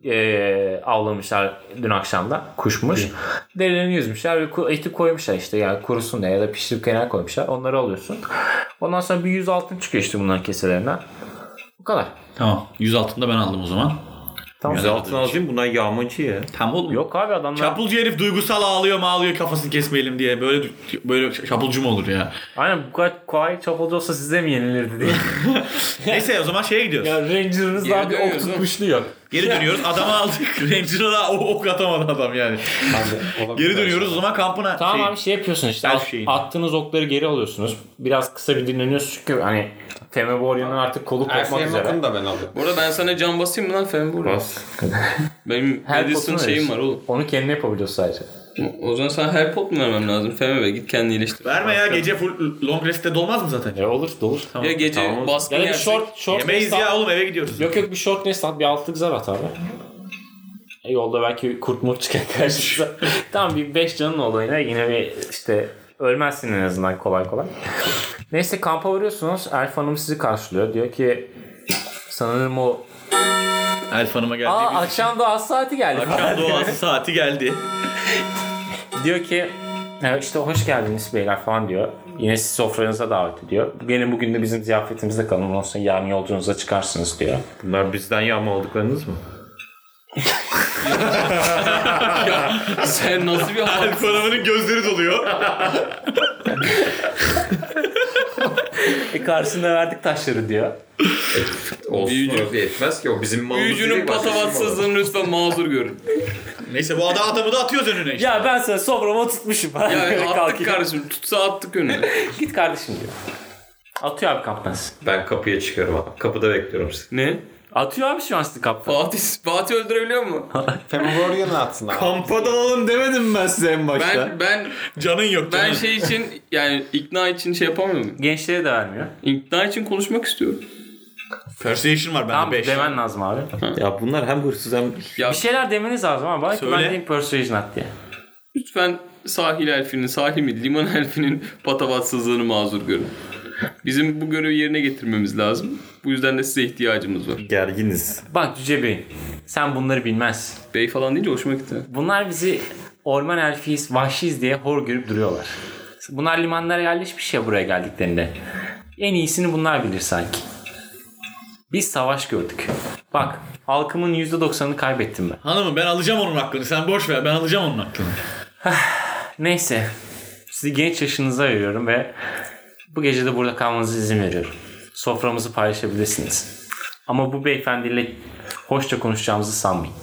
Speaker 1: eee avlamışlar dün akşamda. Kuşmuş. Derilerini yüzmüşler ve ku- eti koymuşlar işte. Yani kurusun diye ya da pişirip kenara koymuşlar. Onları alıyorsun. Ondan sonra bir yüz altın çıkıyor işte bunların keselerinden. Bu kadar.
Speaker 2: Tamam. Yüz altında ben aldım o zaman.
Speaker 1: Tamam.
Speaker 4: Yüz altın alacağım bunlar yağmacı ya.
Speaker 2: Tam oğlum. Yok.
Speaker 1: Yok abi adamlar.
Speaker 2: Çapulcu herif duygusal ağlıyor mağlıyor kafasını kesmeyelim diye. Böyle böyle çapulcu mu olur ya?
Speaker 1: Aynen bu kadar kolay çapulcu olsa size mi yenilirdi diye.
Speaker 2: Neyse o zaman şeye gidiyoruz.
Speaker 1: Ranger'ınız daha bir ok
Speaker 5: dönüyoruz,
Speaker 1: tutmuşlu yok.
Speaker 2: Geri dönüyoruz. Adamı aldık. Ranger'a da o ok atamadı adam yani. Geri dönüyoruz o zaman kampına.
Speaker 1: Tamam
Speaker 2: şey-
Speaker 1: abi şey yapıyorsun işte.
Speaker 2: Her
Speaker 1: at-
Speaker 2: şeyin.
Speaker 1: attığınız okları geri alıyorsunuz. Biraz kısa bir dinleniyorsun çünkü hani Teme Borya'nın artık kolu kopmak
Speaker 3: Erfler'in
Speaker 1: üzere.
Speaker 3: okunu da ben alıyorum.
Speaker 5: Bu arada ben sana can basayım mı lan Fembur?
Speaker 4: Bas.
Speaker 5: Benim
Speaker 1: Her
Speaker 5: Madison şeyim var oğlum.
Speaker 1: Onu kendine yapabiliyorsun sadece.
Speaker 5: O zaman sana her pot mu vermem lazım? Feme be git kendini iyileştir.
Speaker 2: Verme ya gece full long rest'te dolmaz mı zaten?
Speaker 1: Ya E, olur olur.
Speaker 5: Ya gece
Speaker 4: tamam.
Speaker 5: baskın
Speaker 1: Ya da bir
Speaker 5: yersek-
Speaker 1: short, short
Speaker 2: Yemeyiz
Speaker 1: rest al.
Speaker 2: ya oğlum eve gidiyoruz.
Speaker 1: Yok yok bir short rest al. Bir altlık zar at abi. E, Yolda belki kurt murt çıkar karşınıza. tamam bir 5 canın oldu yine. Yine bir işte ölmezsin en azından kolay kolay. Neyse kampa varıyorsunuz. Elf Hanım sizi karşılıyor. Diyor ki sanırım o...
Speaker 2: Elf Hanım'a
Speaker 1: Aa
Speaker 2: geldiğimiz
Speaker 1: akşam da az saati geldi.
Speaker 2: akşam doğası saati geldi.
Speaker 1: Diyor ki "Ya işte hoş geldiniz beyler falan diyor. Yine sizi sofranıza davet ediyor. Gelin bugün de bizim ziyafetimizde kalın. Ondan sonra yarın yolculuğunuza çıkarsınız diyor.
Speaker 4: Bunlar bizden yağmaladıklarınız mı?
Speaker 5: Sen nasıl bir
Speaker 2: Elf Hanım'ın gözleri doluyor.
Speaker 1: E karşısında verdik taşları diyor.
Speaker 4: Olsun
Speaker 5: Büyücü.
Speaker 4: orada yetmez ki o bizim malımız
Speaker 5: Büyücünün
Speaker 4: değil, başka bir şey mi var?
Speaker 5: patavatsızlığını lütfen mazur görün.
Speaker 2: Neyse bu adam adamı da atıyoruz önüne işte.
Speaker 1: Ya ben sana soframa tutmuşum. falan diyor.
Speaker 5: Ya attık
Speaker 1: Kalkıyor.
Speaker 5: kardeşim. Tutsa attık önüne.
Speaker 1: Git kardeşim diyor. Atıyor abi kaptan sizi.
Speaker 4: Ben kapıya çıkarım abi. Kapıda bekliyorum sizi.
Speaker 5: ne?
Speaker 1: Atıyor abi şu an sizi kaptan.
Speaker 5: Fatih, Fatih öldürebiliyor mu?
Speaker 3: Femorion'u atsın abi.
Speaker 2: Kampadan alın demedim ben size en
Speaker 5: ben ben
Speaker 2: Canın yok canın.
Speaker 5: ben şey için yani ikna için şey yapamıyor muyum?
Speaker 1: Gençlere de vermiyor.
Speaker 5: İkna için konuşmak istiyorum.
Speaker 2: Persuasion var bende
Speaker 1: Tamam
Speaker 2: 5.
Speaker 1: demen lazım abi.
Speaker 4: Ya bunlar hem hırsız hem
Speaker 5: Ya
Speaker 1: Bir şey- şeyler demeniz lazım ama bana
Speaker 2: Söyle.
Speaker 1: ben diyeyim persuasion at diye.
Speaker 5: lütfen sahil elfinin, sahil mi? Liman elfinin patavatsızlığını mazur görün. Bizim bu görevi yerine getirmemiz lazım. Bu yüzden de size ihtiyacımız var.
Speaker 4: gerginiz.
Speaker 1: Bak Cüce Bey sen bunları bilmezsin.
Speaker 5: Bey falan deyince hoşuma gitti.
Speaker 1: Bunlar bizi orman elfiyiz, vahşiyiz diye hor görüp duruyorlar. Bunlar limanlara yerleşmiş ya buraya geldiklerinde. En iyisini bunlar bilir sanki. Biz savaş gördük. Bak halkımın %90'ını kaybettim ben.
Speaker 2: Hanımım ben alacağım onun hakkını. Sen boş ver. Ben alacağım onun hakkını.
Speaker 1: Neyse sizi genç yaşınıza veriyorum ve bu gece de burada kalmanıza izin veriyorum. Soframızı paylaşabilirsiniz. Ama bu beyefendiyle hoşça konuşacağımızı sanmayın.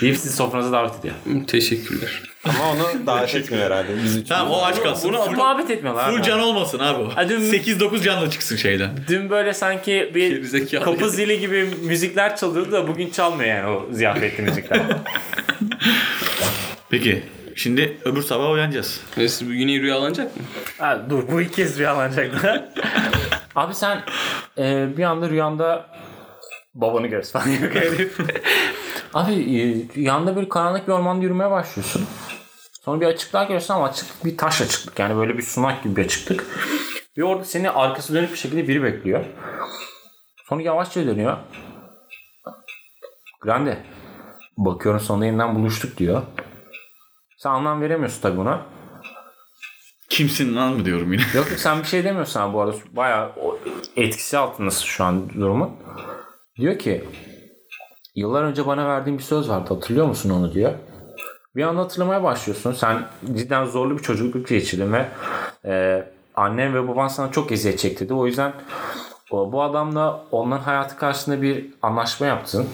Speaker 1: Deyip sizi sofranıza davet ediyor.
Speaker 5: Hı, Teşekkürler.
Speaker 3: Ama onu davet etmiyor herhalde. Biz üç.
Speaker 2: Tamam o aç kalsın.
Speaker 5: bunu-
Speaker 2: full,
Speaker 1: Muhabbet etmiyorlar.
Speaker 2: full
Speaker 1: abi.
Speaker 2: can olmasın abi o.
Speaker 1: Hadi-
Speaker 2: 8-9 canla çıksın şeyden.
Speaker 1: Dün böyle sanki bir
Speaker 5: Gerizekalı.
Speaker 1: kapı zili gibi müzikler çalıyordu da bugün çalmıyor yani o ziyafetli müzikler.
Speaker 2: Peki. Şimdi öbür sabah uyanacağız.
Speaker 5: Ve siz bugün iyi rüyalanacak mı?
Speaker 1: ha, dur bu ilk kez rüyalanacak da. Abi sen e, bir anda rüyanda babanı görürsün falan. Yok öyle. Abi e, rüyanda böyle karanlık bir ormanda yürümeye başlıyorsun. Sonra bir açıklığa görüyorsun ama açıklık bir taş açıklık. Yani böyle bir sunak gibi bir açıklık. Ve orada seni arkası dönük bir şekilde biri bekliyor. Sonra yavaşça dönüyor. Grande. Bakıyorum sonunda yeniden buluştuk diyor. Sen anlam veremiyorsun tabii buna.
Speaker 2: Kimsin lan mı diyorum yine.
Speaker 1: Yok yok sen bir şey demiyorsun abi bu arada. Bayağı o- etkisi altındasın şu an durumun. Diyor ki Yıllar önce bana verdiğin bir söz vardı hatırlıyor musun onu diyor. Bir anda hatırlamaya başlıyorsun. Sen cidden zorlu bir çocukluk geçirdin ve e, annen ve baban sana çok eziyet çekti. dedi. O yüzden o, bu adamla onların hayatı karşısında bir anlaşma yaptın.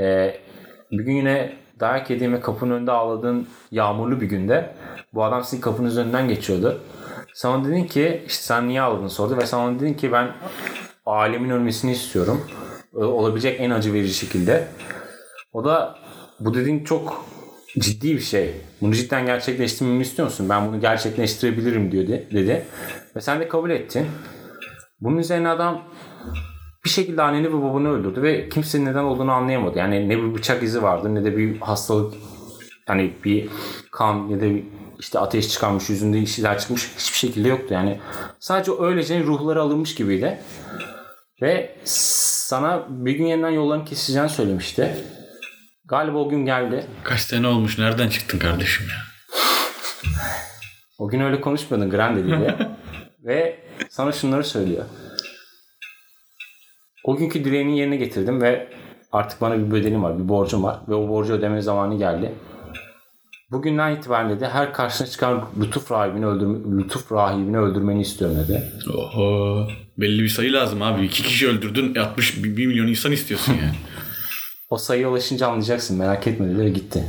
Speaker 1: E, bir gün yine dayak yediğin ve kapının önünde ağladığın yağmurlu bir günde bu adam sizin kapınızın önünden geçiyordu. Sen ona dedin ki işte sen niye ağladın sordu ve sen ona dedin ki ben alemin ölmesini istiyorum. Ö- Olabilecek en acı verici şekilde. O da bu dediğin çok ciddi bir şey. Bunu cidden gerçekleştirmemi istiyor musun? Ben bunu gerçekleştirebilirim diyor de- dedi. Ve sen de kabul ettin. Bunun üzerine adam bir şekilde anneni ve babanı öldürdü ve kimsenin neden olduğunu anlayamadı. Yani ne bir bıçak izi vardı ne de bir hastalık yani bir kan ya da bir işte ateş çıkarmış yüzünde işler çıkmış hiçbir şekilde yoktu. Yani sadece öylece ruhları alınmış gibiydi. Ve sana bir gün yeniden yolların keseceğini söylemişti. Galiba o gün geldi.
Speaker 2: Kaç sene olmuş nereden çıktın kardeşim ya?
Speaker 1: O gün öyle konuşmadın Grande diye. ve sana şunları söylüyor. O günkü dileğini yerine getirdim ve artık bana bir bedelim var, bir borcum var ve o borcu ödeme zamanı geldi. Bugünden itibaren de her karşına çıkan lütuf rahibini öldürme, lütuf rahibini öldürmeni istiyorum dedi.
Speaker 2: Oho. Belli bir sayı lazım abi. İki kişi öldürdün 60 bir bir milyon insan istiyorsun yani.
Speaker 1: O sayıya ulaşınca anlayacaksın merak etme dedi ve gitti.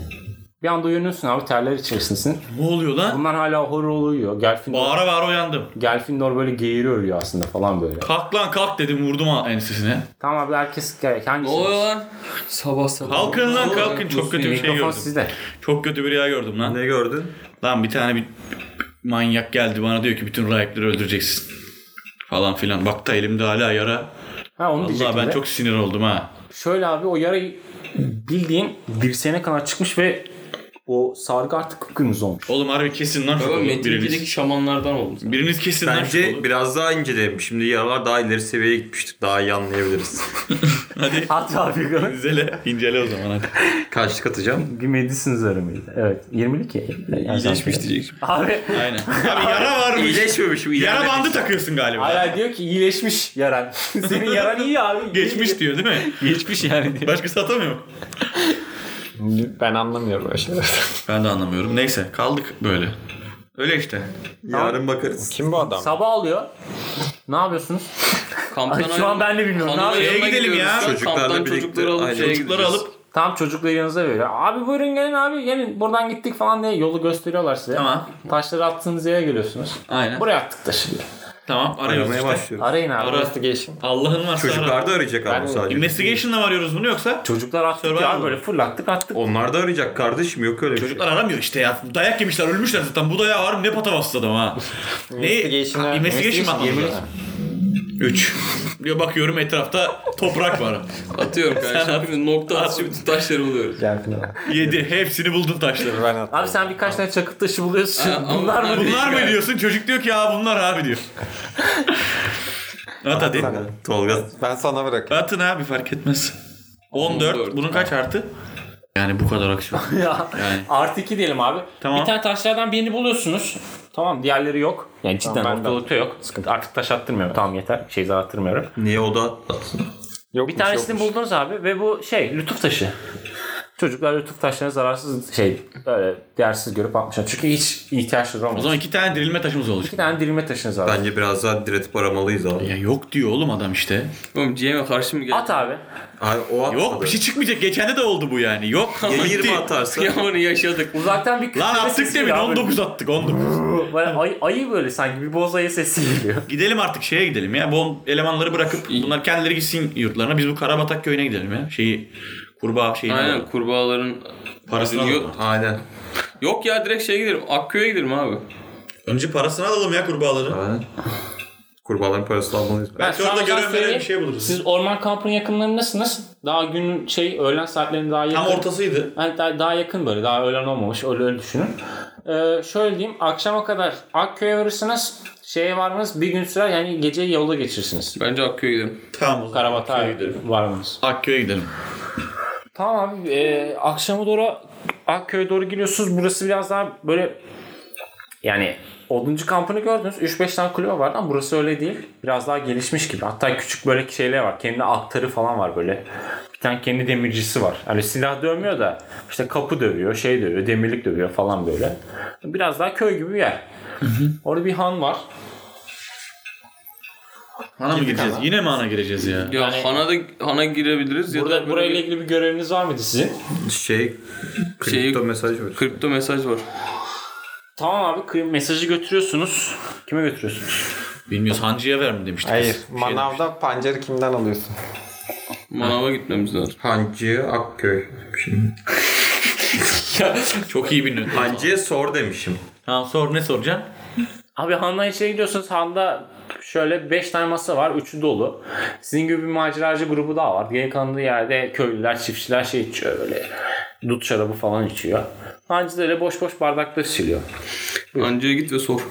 Speaker 1: Bir anda uyanıyorsun abi terler içerisindesin.
Speaker 2: ne oluyor lan?
Speaker 1: Bunlar hala horror oluyor. Gelfindor,
Speaker 2: Bağıra bağıra uyandım.
Speaker 1: Gelfindor böyle geğiri örüyor aslında falan böyle.
Speaker 2: Kalk lan kalk dedim vurdum ha ensesine.
Speaker 1: Tamam abi herkes şey?
Speaker 5: Ne
Speaker 1: kendisi.
Speaker 5: oluyor lan? Sabah sabah.
Speaker 2: Kalkın lan kalkın çok kötü bir şey
Speaker 1: Mikrofon
Speaker 2: gördüm.
Speaker 1: sizde.
Speaker 2: Çok kötü bir rüya gördüm lan.
Speaker 4: Ne gördün?
Speaker 2: Lan bir tane bir manyak geldi bana diyor ki bütün rayakları öldüreceksin. Falan filan. Bak da elimde hala yara.
Speaker 1: Ha onu
Speaker 2: Allah
Speaker 1: diyecektim
Speaker 2: ben
Speaker 1: de.
Speaker 2: çok sinir oldum ha.
Speaker 1: Şöyle abi o yarayı bildiğin dirseğine kadar çıkmış ve o sargı artık kıpkırmızı olmuş.
Speaker 2: Oğlum harbi kesin lan şu
Speaker 5: Baba
Speaker 2: kolu.
Speaker 5: Metin
Speaker 2: biriniz.
Speaker 5: 2'deki şamanlardan olmuş.
Speaker 2: Biriniz kesin lan şu
Speaker 4: Bence
Speaker 2: kolu.
Speaker 4: biraz daha inceleyelim. Şimdi yaralar daha ileri seviyeye gitmiştir. Daha iyi anlayabiliriz.
Speaker 2: Hadi
Speaker 1: Hatta abi
Speaker 2: incele, incele o zaman hadi.
Speaker 4: Kaçlık atacağım.
Speaker 1: bir medisin zarı mıydı? Evet. 20'lik ya. Yani
Speaker 5: İyileşmiş
Speaker 1: sen-
Speaker 5: diyecek.
Speaker 1: Abi
Speaker 2: Aynen. Abi yara varmış.
Speaker 4: İyileşmemişim.
Speaker 2: Yara bandı takıyorsun galiba.
Speaker 1: hala diyor ki iyileşmiş yaran. Senin yaran iyi abi.
Speaker 2: Geçmiş diyor değil mi?
Speaker 1: Geçmiş yani diyor.
Speaker 2: Başkası atamıyor mu?
Speaker 3: Ben anlamıyorum öyle şeyler.
Speaker 2: Ben de anlamıyorum. Neyse kaldık böyle. Öyle işte.
Speaker 4: Yarın bakarız.
Speaker 3: Kim bu adam?
Speaker 1: Sabah oluyor. Ne yapıyorsunuz?
Speaker 5: Kamptan
Speaker 1: Ay, şu an ben de bilmiyorum. Ne
Speaker 5: Kamptan
Speaker 1: yapayım?
Speaker 2: Şeye
Speaker 5: yanına
Speaker 2: gidelim ya.
Speaker 5: gidiyoruz.
Speaker 4: Çocuklarla
Speaker 5: Kamptan
Speaker 4: birlikte.
Speaker 5: çocukları alıp
Speaker 4: Aynen.
Speaker 5: şeye
Speaker 2: Çocukları
Speaker 5: gideceğiz.
Speaker 2: alıp
Speaker 1: Tam çocukları yanınıza veriyor. Abi buyurun gelin abi gelin buradan gittik falan diye yolu gösteriyorlar size.
Speaker 2: Tamam.
Speaker 1: Taşları attığınız yere geliyorsunuz.
Speaker 2: Aynen.
Speaker 1: Buraya attık taşı diyor.
Speaker 2: Tamam arıyoruz
Speaker 4: Aramaya
Speaker 2: işte.
Speaker 4: başlıyoruz.
Speaker 1: Arayın abi.
Speaker 2: Ara.
Speaker 3: Investigation.
Speaker 2: Allah'ın varsa ara.
Speaker 4: Çocuklar da arayacak abi sadece.
Speaker 2: Investigation'la mı arıyoruz bunu yoksa?
Speaker 1: Çocuklar attık
Speaker 2: Survivor
Speaker 1: ya
Speaker 2: mı?
Speaker 1: böyle fırlattık attık.
Speaker 4: Onlar da arayacak kardeşim yok öyle bir şey.
Speaker 2: Çocuklar aramıyor işte ya. Dayak yemişler ölmüşler zaten. Bu dayağı harbi ne patavatsız adam ha. ne?
Speaker 3: Investigation'a-
Speaker 2: Ha, Investigation mı
Speaker 3: Investigation
Speaker 2: atmamız lazım? 3. Diyor bakıyorum etrafta toprak var.
Speaker 5: Atıyorum kardeşim. Şimdi nokta atışı bütün taşları buluyoruz.
Speaker 3: Gelfindor.
Speaker 2: 7. Hepsini buldun taşları.
Speaker 3: Ben attım.
Speaker 1: Abi sen birkaç tane çakıl taşı buluyorsun.
Speaker 5: Ha, ama
Speaker 1: Bunlar mı?
Speaker 5: bunlar-
Speaker 2: Bunlar mı diyorsun? Çocuk diyor ki ya bunlar abi diyor. At hadi.
Speaker 4: şey. Tolga
Speaker 3: Ben sana bırakayım.
Speaker 2: Atın abi fark etmez. 14.
Speaker 5: 14.
Speaker 2: Bunun kaç artı? Yani bu kadar aksiyon.
Speaker 1: ya.
Speaker 2: Yani.
Speaker 1: Artı iki diyelim abi.
Speaker 2: Tamam.
Speaker 1: Bir tane taşlardan birini buluyorsunuz. Tamam diğerleri yok. Yani cidden
Speaker 3: Tamam, ben de-
Speaker 1: ortalıkta yok. Sıkıntı. Artık taş attırmıyorum. Tamam yeter. Şey zaten attırmıyorum.
Speaker 4: niye o da
Speaker 3: Yokmuş,
Speaker 1: Bir tanesini
Speaker 3: yokmuş.
Speaker 1: buldunuz abi ve bu şey lütuf taşı. Çocuklar lütuf taşlarını zararsız şey böyle değersiz görüp atmışlar. Çünkü hiç ihtiyaçları
Speaker 2: O
Speaker 1: olmaz.
Speaker 2: zaman iki tane dirilme taşımız olacak.
Speaker 1: Bir tane dirilme taşınız var.
Speaker 4: bence biraz daha diretip aramalıyız abi.
Speaker 2: Ya yok diyor oğlum adam işte.
Speaker 5: Oğlum GM'e karşı mı geldi?
Speaker 1: At abi.
Speaker 4: Abi o atmadı.
Speaker 2: Yok bir şey çıkmayacak. Geçen de de oldu bu yani. Yok.
Speaker 4: Yeni
Speaker 2: gitti.
Speaker 4: 20 atarsa.
Speaker 5: Kıyamanı yaşadık.
Speaker 1: Uzaktan bir
Speaker 2: Lan
Speaker 1: kükreme
Speaker 2: attık
Speaker 1: sesi
Speaker 2: demin
Speaker 1: geliyor abi.
Speaker 2: 19 attık 19.
Speaker 1: Böyle ay- ayı böyle sanki bir boz ayı sesi geliyor.
Speaker 2: gidelim artık şeye gidelim ya. Bu elemanları bırakıp bunlar kendileri gitsin yurtlarına. Biz bu Karabatak köyüne gidelim ya. Şeyi kurbağa şeyini
Speaker 5: Aynen
Speaker 2: alalım.
Speaker 5: kurbağaların
Speaker 2: Parasını
Speaker 5: Yok-
Speaker 2: alalım.
Speaker 4: Aynen.
Speaker 5: Yok ya direkt şeye giderim. Akköy'e giderim abi.
Speaker 2: Önce parasını alalım ya kurbağaları.
Speaker 4: Aynen. Kurbağaların parasını almalıyız.
Speaker 2: Belki
Speaker 1: sana
Speaker 2: orada
Speaker 1: biraz
Speaker 2: görev veren
Speaker 1: söyleyeyim.
Speaker 2: bir şey buluruz.
Speaker 1: Siz orman kampının yakınlarındasınız. Daha gün şey öğlen saatlerinde daha yakın.
Speaker 2: Tam ortasıydı.
Speaker 1: Yani daha, daha yakın böyle. Daha öğlen olmamış. Öyle, öyle düşünün. Ee, şöyle diyeyim. Akşama kadar Akköy'e varırsınız. Şeye varmanız bir gün sürer. Yani geceyi yolda geçirsiniz.
Speaker 5: Bence Akköy'e giderim.
Speaker 2: Tamam o zaman.
Speaker 1: Karabatay'a varmanız.
Speaker 2: Akköy'e gidelim.
Speaker 1: Tamam abi. e, akşama doğru Akköy'e doğru geliyorsunuz. Burası biraz daha böyle e, Yani oduncu kampını gördünüz. 3-5 tane kulübe vardı ama burası öyle değil. Biraz daha gelişmiş gibi. Hatta küçük böyle şeyler var. Kendi atları falan var böyle. Bir tane kendi demircisi var. Hani silah dövmüyor da işte kapı dövüyor, şey dövüyor, demirlik dövüyor falan böyle. Biraz daha köy gibi bir yer. Orada bir han var.
Speaker 2: Hana mı gireceğiz? Yine mi hana gireceğiz ya?
Speaker 5: Ya Han'a da Han'a girebiliriz ya da
Speaker 1: Burada,
Speaker 5: böyle
Speaker 1: burayla ilgili bir göreviniz var mıydı sizin?
Speaker 4: Şey, kripto
Speaker 5: Şey-
Speaker 4: mesaj var.
Speaker 5: kripto mesaj var.
Speaker 1: Tamam abi kıy- mesajı götürüyorsunuz. Kime götürüyorsunuz?
Speaker 2: Bilmiyoruz. Hancı'ya ver mi demiştik.
Speaker 3: Hayır.
Speaker 2: biz. Bir şey
Speaker 3: manavda pancarı kimden alıyorsun?
Speaker 5: Manava gitmemiz lazım.
Speaker 4: Hancı Akköy.
Speaker 2: demiştik. Çok iyi bildin.
Speaker 4: Hancı'ya sor demişim.
Speaker 2: Ha sor ne soracaksın?
Speaker 1: Abi Han'dan içeri gidiyorsunuz. Han'da şöyle 5 tane masa var. Üçü dolu. Sizin gibi bir maceracı grubu daha var. Geri kalanı yerde köylüler, çiftçiler şey içiyor böyle. Dut şarabı falan içiyor. Hancı da öyle boş boş bardakları siliyor.
Speaker 5: Hancı'ya git ve sor.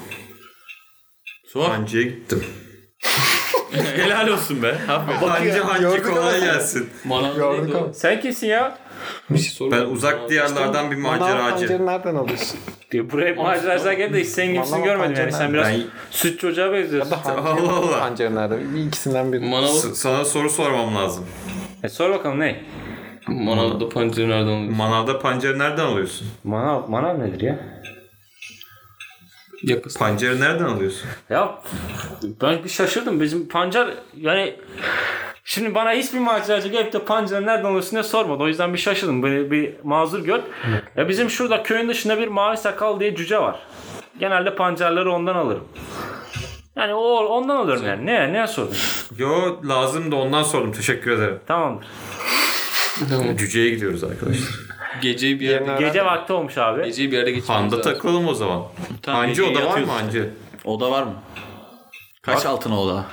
Speaker 2: Sor.
Speaker 4: Hancı'ya gittim.
Speaker 2: Helal olsun be. Aferin.
Speaker 4: Hancı Hancı
Speaker 3: Gördük
Speaker 4: kolay
Speaker 3: ama.
Speaker 4: gelsin.
Speaker 5: Manava
Speaker 3: Gördük
Speaker 5: neydi o?
Speaker 3: ama.
Speaker 1: Sen kimsin ya?
Speaker 5: Bir şey sorma.
Speaker 4: Ben uzak diyarlardan bir
Speaker 3: Manav
Speaker 4: maceracı.
Speaker 3: pancarı nereden alıyorsun?
Speaker 1: Diye buraya maceracılar geldi de hiç senin gibisini
Speaker 3: Vallahi
Speaker 1: görmedim yani. Sen biraz
Speaker 4: Ben-
Speaker 1: süt çocuğa benziyorsun.
Speaker 4: Allah Allah.
Speaker 3: Pancarı nereden? Bir ikisinden biri.
Speaker 5: Manava,
Speaker 4: S- Sana soru sormam lazım.
Speaker 1: E, sor bakalım ne?
Speaker 5: manavda pancarı nereden alıyorsun?
Speaker 4: Manavda pancarı nereden alıyorsun?
Speaker 1: Manav, manav nedir ya?
Speaker 5: Yakası.
Speaker 4: Pancarı nereden alıyorsun?
Speaker 1: Ya ben bir şaşırdım. Bizim pancar yani Şimdi bana hiçbir maceracı gelip de pancarı nereden alıyorsun diye sormadı. O yüzden bir şaşırdım. Beni bir mazur gör. Ya bizim şurada köyün dışında bir mavi sakal diye cüce var. Genelde pancarları ondan alırım. Yani o ondan alıyorum yani. Ne ne sordun?
Speaker 4: Yo lazım da ondan sordum. Teşekkür ederim.
Speaker 1: Tamamdır.
Speaker 5: Tamam.
Speaker 4: Cüce'ye gidiyoruz arkadaşlar.
Speaker 5: Geceyi bir yerde,
Speaker 3: Yerine-
Speaker 1: Gece vakti olmuş abi.
Speaker 5: geceyi bir yerde geçirmemiz
Speaker 4: Handa
Speaker 5: lazım.
Speaker 4: takılalım o zaman.
Speaker 2: Tamam,
Speaker 4: hancı
Speaker 2: geceyi
Speaker 4: oda var mı
Speaker 2: yatıyoruz.
Speaker 4: hancı?
Speaker 2: Oda var mı? Kaç altın oda?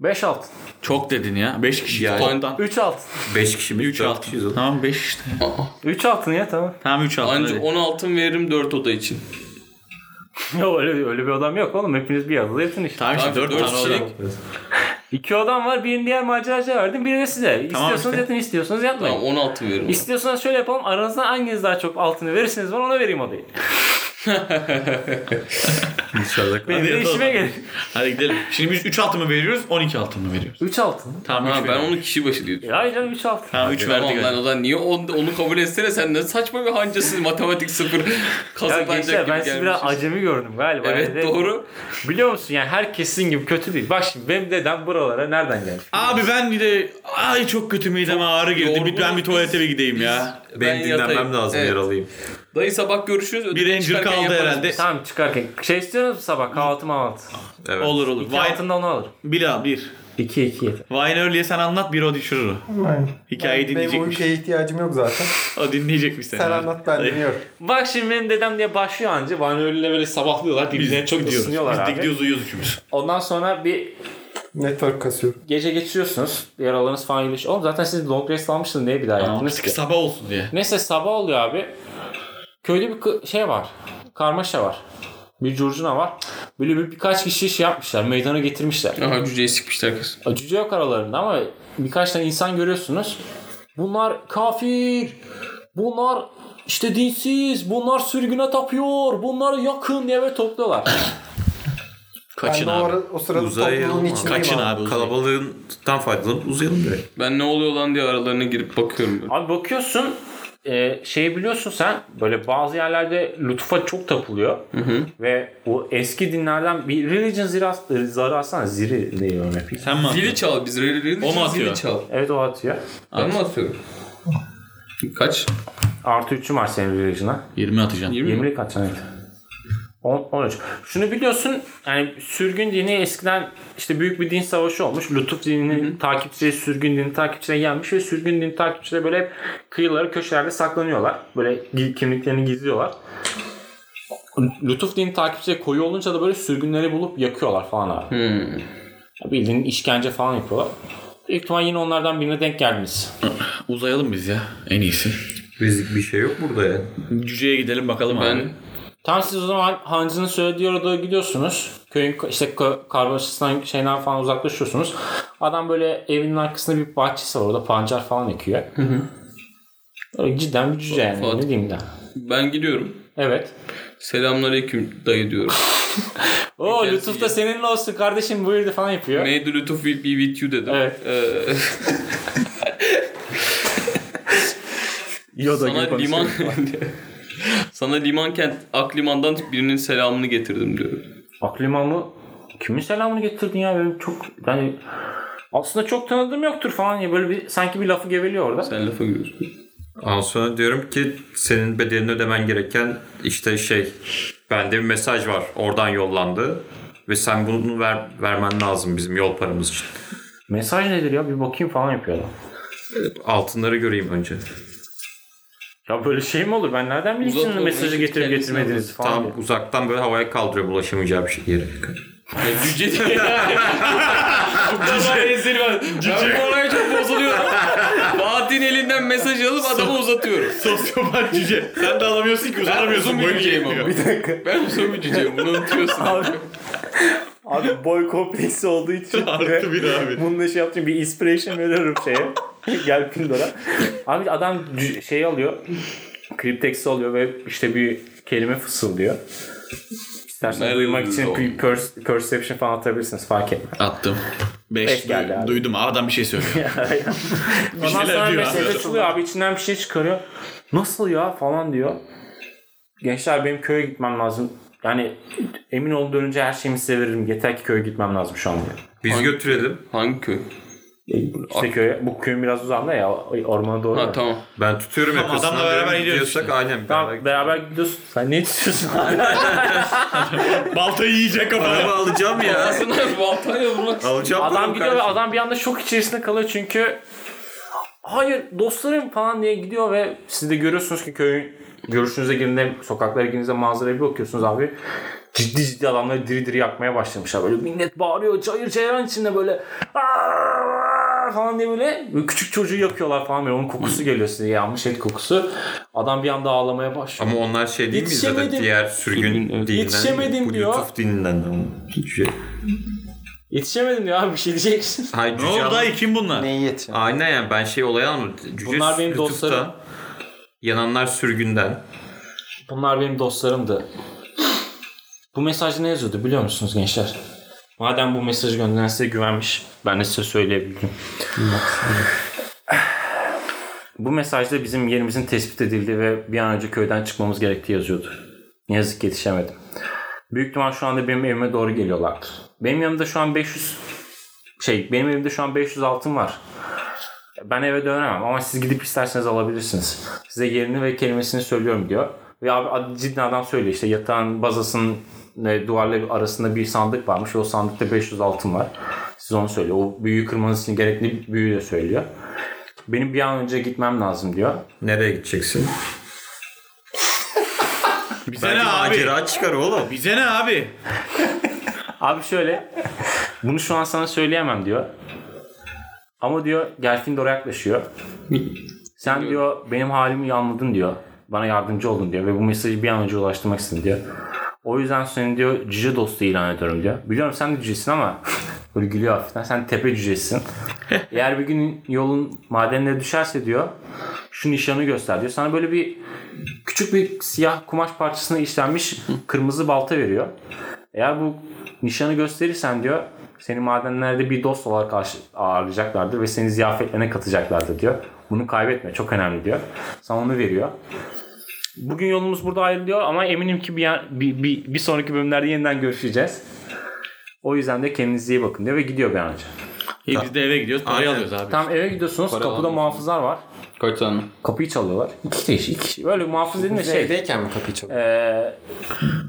Speaker 1: 5 altın.
Speaker 2: Çok dedin ya. 5 kişi.
Speaker 4: Yani-
Speaker 2: Toplamdan
Speaker 1: 3 altın.
Speaker 4: 5 kişi mi? 3
Speaker 2: 3
Speaker 4: altı kişiyiz
Speaker 2: altın.
Speaker 4: oğlum.
Speaker 2: Tamam 5 işte.
Speaker 1: Üç altın ya tamam.
Speaker 2: Tamam 3 altın.
Speaker 5: Anca
Speaker 2: hadi.
Speaker 5: 10 altın veririm 4 oda için.
Speaker 1: Yok öyle, öyle bir odam yok oğlum. Hepiniz bir yerde yatın işte.
Speaker 2: Tamam işte
Speaker 5: Abi,
Speaker 2: 4
Speaker 5: dört
Speaker 2: tane oda.
Speaker 5: kişilik.
Speaker 1: İki odam var. Birini diğer maceracıya verdim. Birini size. İstiyorsanız
Speaker 2: işte.
Speaker 1: yatın, istiyorsanız yatmayın.
Speaker 5: Tamam 10 altın veririm.
Speaker 1: İstiyorsanız şöyle yapalım. Aranızdan hanginiz daha çok altını verirsiniz bana ona vereyim odayı.
Speaker 4: İnşallah.
Speaker 1: Benim de
Speaker 2: yatalım.
Speaker 1: işime gelir.
Speaker 2: Hadi gidelim. Şimdi biz 3 altın mı veriyoruz? 12 altın mı veriyoruz?
Speaker 1: 3 altın.
Speaker 2: Tamam
Speaker 5: Ha,
Speaker 2: 3
Speaker 5: ben
Speaker 2: veriyorum.
Speaker 5: onu kişi başı diye düşünüyorum.
Speaker 1: Ya E, canım 3 altın.
Speaker 2: Tamam 3
Speaker 5: Tamam
Speaker 2: verdik. hani.
Speaker 5: lan o zaman niye onu, onu kabul etsene sen ne saçma bir hancasız matematik sıfır
Speaker 1: Ya
Speaker 5: kazıklanacak gibi
Speaker 1: gençler ben sizi biraz
Speaker 5: gelmişiz.
Speaker 1: acemi gördüm galiba.
Speaker 5: Evet
Speaker 1: Yani de-
Speaker 5: doğru.
Speaker 1: Biliyor musun yani herkes sizin gibi kötü değil. Bak şimdi benim dedem buralara nereden gelmiş?
Speaker 2: Abi ben bir de ay çok kötü mideme ağrı girdi. Bir, ben bir
Speaker 5: yorgunuz
Speaker 2: tuvalete bir gideyim ya.
Speaker 4: Benim dinlenmem
Speaker 5: yatayım.
Speaker 4: lazım
Speaker 5: Evet.
Speaker 4: yaralıyım.
Speaker 5: Dayı sabah görüşürüz. ödülü
Speaker 2: Bir ranger
Speaker 5: çıkarken
Speaker 2: kaldı
Speaker 5: yaparız.
Speaker 2: herhalde.
Speaker 1: Tamam çıkarken. Şey istiyorsunuz mu sabah kahvaltı mahvaltı?
Speaker 4: Evet.
Speaker 2: Olur olur.
Speaker 1: İki
Speaker 2: Wine,
Speaker 1: altından onu alır.
Speaker 2: bir al bir.
Speaker 1: 2 2 yeter.
Speaker 2: Wine early'e sen anlat bir o düşürür o. Hikayeyi
Speaker 3: Benim
Speaker 2: dinleyecekmiş.
Speaker 3: ülkeye ihtiyacım yok zaten.
Speaker 2: O dinleyecekmiş seni.
Speaker 3: Sen
Speaker 2: abi.
Speaker 3: anlat ben dinliyorum.
Speaker 1: Bak şimdi benim dedem diye başlıyor anca. Van öyle böyle sabahlıyorlar.
Speaker 2: Biz
Speaker 1: Birbirlerine çok
Speaker 2: gidiyoruz.
Speaker 1: ısınıyorlar
Speaker 2: Biz de
Speaker 1: abi.
Speaker 2: gidiyoruz uyuyoruz üçümüz.
Speaker 1: Ondan sonra bir
Speaker 3: Network kasıyorum.
Speaker 1: gece geçiriyorsunuz. Yaralarınız falan iyileşiyor. Oğlum zaten siz long rest almıştınız. Niye bir daha yaptınız ki?
Speaker 2: Sabah olsun diye.
Speaker 1: Neyse sabah oluyor abi. Köyde bir kı- şey var. Karmaşa var. Bir curcuna var. Böyle bir, birkaç kişi şey yapmışlar. Meydana getirmişler.
Speaker 5: Aha cüceyi sikmişler kız.
Speaker 1: Cüce yok aralarında ama birkaç tane insan görüyorsunuz. Bunlar kafir. Bunlar işte dinsiz. Bunlar sürgüne tapıyor. Bunları yakın diye böyle topluyorlar.
Speaker 3: Ben
Speaker 2: Kaçın
Speaker 3: de o,
Speaker 2: abi.
Speaker 3: ara, o sırada
Speaker 4: Uzaya
Speaker 3: topluluğun
Speaker 4: yayılma.
Speaker 3: içindeyim
Speaker 2: Kaçın
Speaker 3: abi.
Speaker 2: abi. uzayı.
Speaker 4: Kalabalığından faydalanıp uzayalım direkt.
Speaker 5: Ben ne oluyor lan diye aralarına girip bakıyorum. böyle.
Speaker 1: Abi bakıyorsun e, şey biliyorsun sen böyle bazı yerlerde lütfa çok tapılıyor. Ve o eski dinlerden bir religion zira- zarı atsana. Ziri diye örnek.
Speaker 2: Sen mi
Speaker 5: Zili
Speaker 2: atıyorsun?
Speaker 5: çal biz religion
Speaker 2: O mu
Speaker 5: için
Speaker 2: atıyor?
Speaker 5: zili çal.
Speaker 1: Evet o atıyor.
Speaker 5: Ben mi atıyorum? Kaç?
Speaker 1: Artı 3'ü var senin virajına.
Speaker 2: 20 atacaksın.
Speaker 5: 20 mi?
Speaker 1: 20'lik kaç tane? 10, 13. Şunu biliyorsun yani sürgün dini eskiden işte büyük bir din savaşı olmuş. Lütuf dininin takipçileri sürgün dini takipçilerine gelmiş ve sürgün dini takipçileri böyle hep kıyılara köşelerde saklanıyorlar. Böyle gi- kimliklerini gizliyorlar. Lütuf dini takipçileri koyu olunca da böyle sürgünleri bulup yakıyorlar falan abi.
Speaker 5: Hmm.
Speaker 1: Bildiğin işkence falan yapıyorlar. İlk ihtimal yine onlardan birine denk geldiniz.
Speaker 2: Uzayalım biz ya. En iyisi.
Speaker 4: Risk bir şey yok burada ya.
Speaker 2: Cüceye gidelim bakalım abi.
Speaker 5: Ben
Speaker 1: Tam siz o zaman Hancı'nın söylediği orada gidiyorsunuz. Köyün ka- işte ka- karmaşasından şeyden falan uzaklaşıyorsunuz. Adam böyle evinin arkasında bir bahçesi var. Orada pancar falan ekiyor. Öyle cidden bir cüce yani.
Speaker 5: Fuat.
Speaker 1: Ne diyeyim de.
Speaker 5: ben gidiyorum.
Speaker 1: Evet.
Speaker 5: Selamünaleyküm dayı diyorum.
Speaker 1: Oo
Speaker 5: Bir
Speaker 1: Lütuf da
Speaker 5: tanesi-
Speaker 1: seninle olsun kardeşim buyurdu falan yapıyor.
Speaker 5: Neydi lütuf will be with you dedim.
Speaker 1: Evet.
Speaker 5: Ee,
Speaker 1: Yoda
Speaker 5: sana liman sana liman kent Akliman'dan birinin selamını getirdim diyorum.
Speaker 1: Aklimamı kimin selamını getirdin ya benim çok yani aslında çok tanıdığım yoktur falan ya böyle bir sanki bir lafı geveliyor orada.
Speaker 5: Sen lafa giriyorsun.
Speaker 4: Ondan sonra diyorum ki senin bedelini ödemen gereken işte şey bende bir mesaj var oradan yollandı ve sen bunu ver, vermen lazım bizim yol paramız için.
Speaker 1: Mesaj nedir ya bir bakayım falan yapıyor adam.
Speaker 4: Altınları göreyim önce.
Speaker 1: Ya böyle şey mi olur ben nereden bileyim
Speaker 5: Uzak
Speaker 1: sizin
Speaker 5: olmayı
Speaker 1: mesajı getirip
Speaker 5: kendisine
Speaker 1: getirmediğinizi falan.
Speaker 4: Tam
Speaker 1: diye.
Speaker 4: uzaktan böyle havaya kaldırıyor bulaşamayacağı bir şey yere.
Speaker 5: Ya cüce diye. Bu kadar rezil ben. Ben bu olaya çok bozuluyorum. Fatih'in elinden mesaj alıp adama uzatıyorum.
Speaker 2: Sosyopat cüce. Sen de alamıyorsun ki uzanamıyorsun.
Speaker 5: uzun bir
Speaker 2: Boyun
Speaker 5: cüceyim ama.
Speaker 2: yetmiyor.
Speaker 5: Ben uzun bir cüceyim bunu unutuyorsun.
Speaker 1: Abi boy kompleksi olduğu için
Speaker 2: Artı bir abi.
Speaker 1: bununla şey yaptım bir inspiration veriyorum şeye. Gel Pindor'a. Abi adam cü- şey alıyor. Kripteksi alıyor ve işte bir kelime fısıldıyor. İstersen
Speaker 5: Nerede
Speaker 1: duymak
Speaker 5: duydunuz
Speaker 1: için
Speaker 5: oğlum?
Speaker 1: bir per- perception falan atabilirsiniz fark etmez.
Speaker 2: Attım. Beş,
Speaker 1: Beş geldi abi.
Speaker 2: duydum adam bir şey söylüyor. bir
Speaker 1: Ondan sonra
Speaker 2: şeyler diyor
Speaker 1: mesaj
Speaker 2: abi.
Speaker 1: açılıyor abi içinden bir şey çıkarıyor. Nasıl ya falan diyor. Gençler benim köye gitmem lazım. Yani emin ol dönünce her şeyimi size veririm. Yeter ki köye gitmem lazım şu an diyor.
Speaker 4: Biz götürelim.
Speaker 5: Hangi köy?
Speaker 1: İşte köye, bu köyün biraz uzağında ya ormana doğru.
Speaker 5: Ha
Speaker 1: ya.
Speaker 5: tamam.
Speaker 4: Ben tutuyorum
Speaker 2: Tamam,
Speaker 4: yakasından.
Speaker 2: adamla beraber
Speaker 4: diyorum,
Speaker 2: gidiyoruz
Speaker 4: gidiyorsak aynen
Speaker 1: Tamam,
Speaker 4: beraber.
Speaker 1: beraber gidiyorsun. Sen ne istiyorsun?
Speaker 2: Baltayı yiyecek kafana.
Speaker 4: Araba alacağım ya.
Speaker 5: Aslında baltayla vurmak
Speaker 4: alacağım
Speaker 1: adam
Speaker 4: adam
Speaker 1: gidiyor ve adam bir anda şok içerisinde kalıyor çünkü hayır dostlarım falan diye gidiyor ve siz de görüyorsunuz ki köyün görüşünüze girdiğinde sokaklara girdiğinizde manzaraya bir bakıyorsunuz abi ciddi ciddi adamları diri diri yakmaya başlamışlar. Böyle millet bağırıyor çayır çayıran içinde böyle "Aa!" falan diye böyle, böyle küçük çocuğu yakıyorlar falan böyle onun kokusu geliyor size yanmış et kokusu. Adam bir anda ağlamaya başlıyor.
Speaker 4: Ama onlar şey değil mi zaten
Speaker 1: Yetişemedim.
Speaker 4: diğer sürgün
Speaker 5: Sürgün,
Speaker 4: dininden.
Speaker 5: evet.
Speaker 1: Yetişemedim
Speaker 4: bu
Speaker 1: diyor.
Speaker 4: Lütuf dininden. Şey.
Speaker 1: Yetişemedim ya abi bir şey diyeceksin.
Speaker 4: Hayır,
Speaker 2: Ne
Speaker 4: cüce
Speaker 2: oldu
Speaker 4: ama-
Speaker 2: dayı kim bunlar?
Speaker 6: Neyi yetiyor?
Speaker 4: Aynen yani ben şey olayı anlamadım. Cüce
Speaker 1: Bunlar benim
Speaker 4: Lütuf'ta,
Speaker 1: dostlarım.
Speaker 4: Yananlar sürgünden.
Speaker 1: Bunlar benim dostlarımdı. Bu mesaj ne yazıyordu biliyor musunuz gençler? Madem bu mesajı gönderen size güvenmiş, ben de size söyleyebildim. bu mesajda bizim yerimizin tespit edildiği ve bir an önce köyden çıkmamız gerektiği yazıyordu. Ne yazık ki yetişemedim. Büyük ihtimal şu anda benim evime doğru geliyorlardır. Benim yanımda şu an 500 şey benim evimde şu an 500 altın var. Ben eve dönemem ama siz gidip isterseniz alabilirsiniz. Size yerini ve kelimesini söylüyorum diyor. Ve abi ad- cidden adam söylüyor işte yatağın bazasının e, duvarları arasında bir sandık varmış. ve O sandıkta 500 altın var. Siz onu söylüyor. O büyüyü kırmanız için gerekli büyüyü de söylüyor. Benim bir an önce gitmem lazım diyor.
Speaker 4: Nereye gideceksin?
Speaker 2: Bize ne
Speaker 4: Belki
Speaker 2: abi?
Speaker 4: macera çıkar oğlum.
Speaker 2: Bize ne abi?
Speaker 1: Abi şöyle. Bunu şu an sana söyleyemem diyor. Ama diyor Gelfindor'a yaklaşıyor. Sen diyor benim halimi iyi anladın diyor. Bana yardımcı oldun diyor ve bu mesajı bir an önce ulaştırmak istedim diyor. O yüzden seni diyor cüce dostu ilan ediyorum diyor. Biliyorum sen de cücesin ama böyle gülüyor hafiften. Sen tepe cücesin. Eğer bir gün yolun madenlere düşerse diyor şu nişanı göster diyor. Sana böyle bir küçük bir siyah kumaş parçasına işlenmiş kırmızı balta veriyor. Eğer bu nişanı gösterirsen diyor seni madenlerde bir dost olarak karşı- ağırlayacaklardır ve seni ziyafetlerine katacaklardır diyor. Bunu kaybetme çok önemli diyor. Sana onu veriyor. Bugün yolumuz burada ayrılıyor ama eminim ki bir, yer- bir, bir, bir sonraki bölümlerde yeniden görüşeceğiz. O yüzden de kendinize iyi bakın diyor ve gidiyor bir an önce.
Speaker 2: İyi biz de eve gidiyoruz. Parayı alıyoruz abi.
Speaker 1: Tam eve gidiyorsunuz kapıda muhafızlar var.
Speaker 5: Kaç tane?
Speaker 1: Kapıyı çalıyorlar. İki kişi, iki kişi. Böyle muhafız dediğim de
Speaker 6: Biz
Speaker 1: şey.
Speaker 6: evdeyken mi kapıyı çalıyor?
Speaker 1: eee,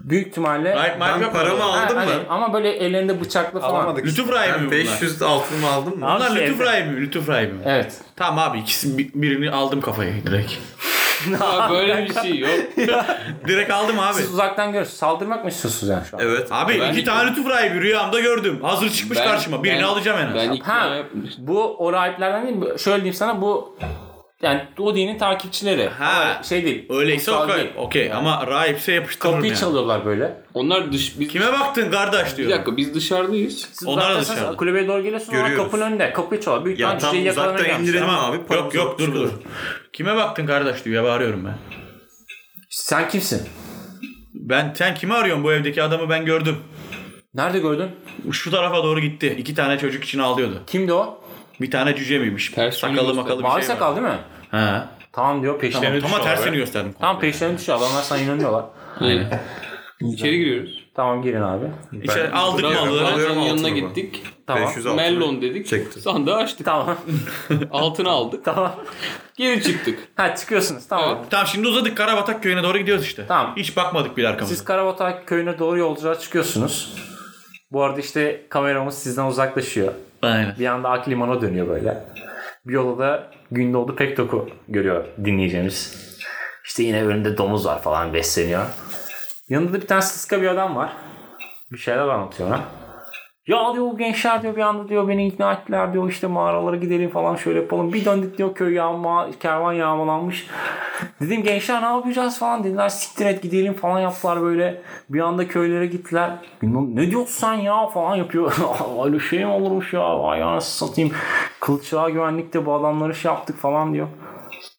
Speaker 1: büyük ihtimalle
Speaker 2: Right, Mike
Speaker 4: Ben
Speaker 2: yok
Speaker 4: paramı
Speaker 2: mu?
Speaker 1: Ha,
Speaker 4: aldım
Speaker 1: hani
Speaker 4: mı?
Speaker 1: ama böyle ellerinde bıçaklı falan.
Speaker 6: Alamadık.
Speaker 2: Lütuf rahibi mi
Speaker 4: Ben
Speaker 2: bunlar?
Speaker 4: 500 altınımı aldım mı?
Speaker 2: Bunlar
Speaker 1: Şey,
Speaker 2: lütuf rahibi mi? Lütuf rahibi mi?
Speaker 1: Evet.
Speaker 2: Tamam abi ikisi bir- birini aldım kafayı direkt.
Speaker 5: böyle bir şey yok.
Speaker 2: Direkt aldım abi.
Speaker 1: Siz uzaktan görüyorsunuz. Saldırmak mı istiyorsunuz yani şu an?
Speaker 4: Evet.
Speaker 2: Abi
Speaker 5: Ben-
Speaker 2: iki tane lütuf rahibi rüyamda gördüm. Hazır çıkmış karşıma. Birini alacağım en az.
Speaker 5: Ben
Speaker 1: Ha,
Speaker 5: ikna yapmıştım.
Speaker 1: bu o rahiplerden değil. bu- Şöyle diyeyim sana bu yani o dinin takipçileri.
Speaker 2: Ha.
Speaker 1: Ama şey değil.
Speaker 2: Öyleyse
Speaker 1: kutsal
Speaker 2: okey.
Speaker 1: değil.
Speaker 2: Okey ama rahipse yapıştırırım
Speaker 1: Kapıyı
Speaker 2: yani.
Speaker 1: çalıyorlar böyle.
Speaker 5: Onlar dış... Biz,
Speaker 2: Kime baktın kardeş
Speaker 5: Bir
Speaker 2: diyorum.
Speaker 5: dakika biz dışarıdayız.
Speaker 1: Siz
Speaker 2: Onlar da şey
Speaker 1: uzaktasınız,
Speaker 2: dışarıda.
Speaker 1: Kulübeye doğru geliyorsun ama
Speaker 4: Görüyoruz.
Speaker 1: kapının önünde. Kapıyı çalıyor. Büyük
Speaker 4: Ya
Speaker 1: ihtimalle
Speaker 4: tam
Speaker 1: cüceyi yakalamaya
Speaker 4: uzaktan
Speaker 1: gelmişler.
Speaker 4: indirelim
Speaker 2: Tamam.
Speaker 4: abi.
Speaker 2: Yok
Speaker 4: paramızı
Speaker 2: yok
Speaker 4: alıp
Speaker 2: dur dur.
Speaker 4: çıkalım.
Speaker 2: Kime baktın kardeş diyor. Bağırıyorum ben.
Speaker 1: Sen kimsin?
Speaker 2: Ben sen kimi arıyorsun bu evdeki adamı ben gördüm.
Speaker 1: Nerede gördün?
Speaker 2: Şu tarafa doğru gitti. İki tane çocuk için ağlıyordu.
Speaker 1: Kimdi o?
Speaker 2: Bir tane cüce miymiş?
Speaker 5: Ters
Speaker 2: sakalı
Speaker 5: yönü
Speaker 2: makalı bir
Speaker 1: Mavi
Speaker 2: şey
Speaker 1: sakal değil mi?
Speaker 2: var. Ha.
Speaker 1: Tamam diyor peşlerine
Speaker 2: Tamam,
Speaker 1: düşüyor.
Speaker 2: ama tersini gösterdim.
Speaker 1: Tamam peşlerine düşüyor. Adamlar sana inanıyorlar.
Speaker 5: Aynen. İçeri giriyoruz.
Speaker 1: Tamam girin abi.
Speaker 2: İçeri aldık
Speaker 4: Ben-
Speaker 2: malı.
Speaker 4: Ben-
Speaker 5: Balancanın
Speaker 4: Alıyorum
Speaker 5: yanına
Speaker 4: altını bu.
Speaker 5: gittik.
Speaker 1: Tamam.
Speaker 4: 500 altını
Speaker 5: Mellon dedik.
Speaker 4: çektim.
Speaker 5: Sandığı açtık.
Speaker 1: Tamam.
Speaker 5: Altını aldık.
Speaker 1: tamam.
Speaker 5: Geri çıktık.
Speaker 1: Ha çıkıyorsunuz. Tamam.
Speaker 5: Evet.
Speaker 2: Tamam şimdi uzadık Karabatak köyüne doğru gidiyoruz işte.
Speaker 1: Tamam.
Speaker 2: Hiç bakmadık bile arkamıza.
Speaker 1: Siz Karabatak köyüne doğru yolculuğa çıkıyorsunuz. Bu arada işte kameramız sizden uzaklaşıyor.
Speaker 2: Aynen.
Speaker 1: Bir anda Akliman'a dönüyor böyle. Bir yolda da Gündoğdu Pektok'u görüyor dinleyeceğimiz. İşte yine önünde domuz var falan besleniyor. Yanında da bir tane sıska bir adam var. Bir şeyler anlatıyor ona. Ya diyor bu gençler diyor bir anda diyor beni ikna ettiler diyor işte mağaralara gidelim falan şöyle yapalım. Bir döndük diyor köy yağma, kervan yağmalanmış. Dedim gençler ne yapacağız falan dediler siktir et gidelim falan yaptılar böyle. Bir anda köylere gittiler. Bilmem, ne diyorsun sen ya falan yapıyor. Öyle şey mi olurmuş ya ay anasını satayım. Kılıçdağı güvenlikte bu adamları şey yaptık falan diyor.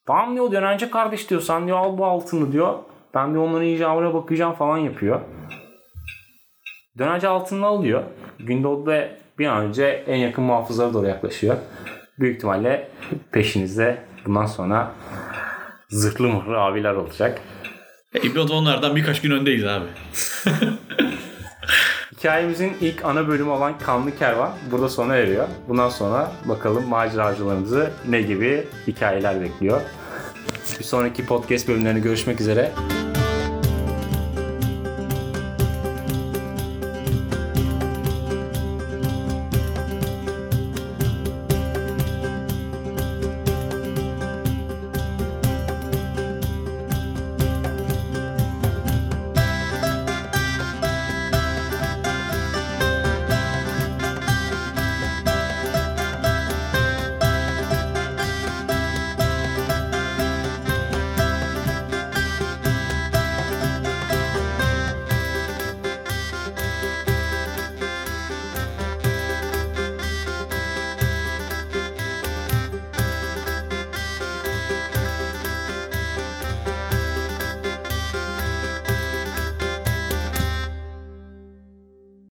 Speaker 1: Tamam diyor dönence kardeş diyor sen diyor al bu altını diyor. Ben de onların icabına bakacağım falan yapıyor. Dönence altını alıyor. Gündoğdu da bir an önce en yakın muhafızlara doğru yaklaşıyor. Büyük ihtimalle peşinizde bundan sonra zırhlı mırhlı abiler olacak.
Speaker 2: İbnot E, onlardan birkaç gün öndeyiz abi.
Speaker 1: Hikayemizin ilk ana bölümü olan Kanlı Kervan burada sona eriyor. Bundan sonra bakalım maceracılarımızı ne gibi hikayeler bekliyor. Bir sonraki podcast bölümlerinde görüşmek üzere.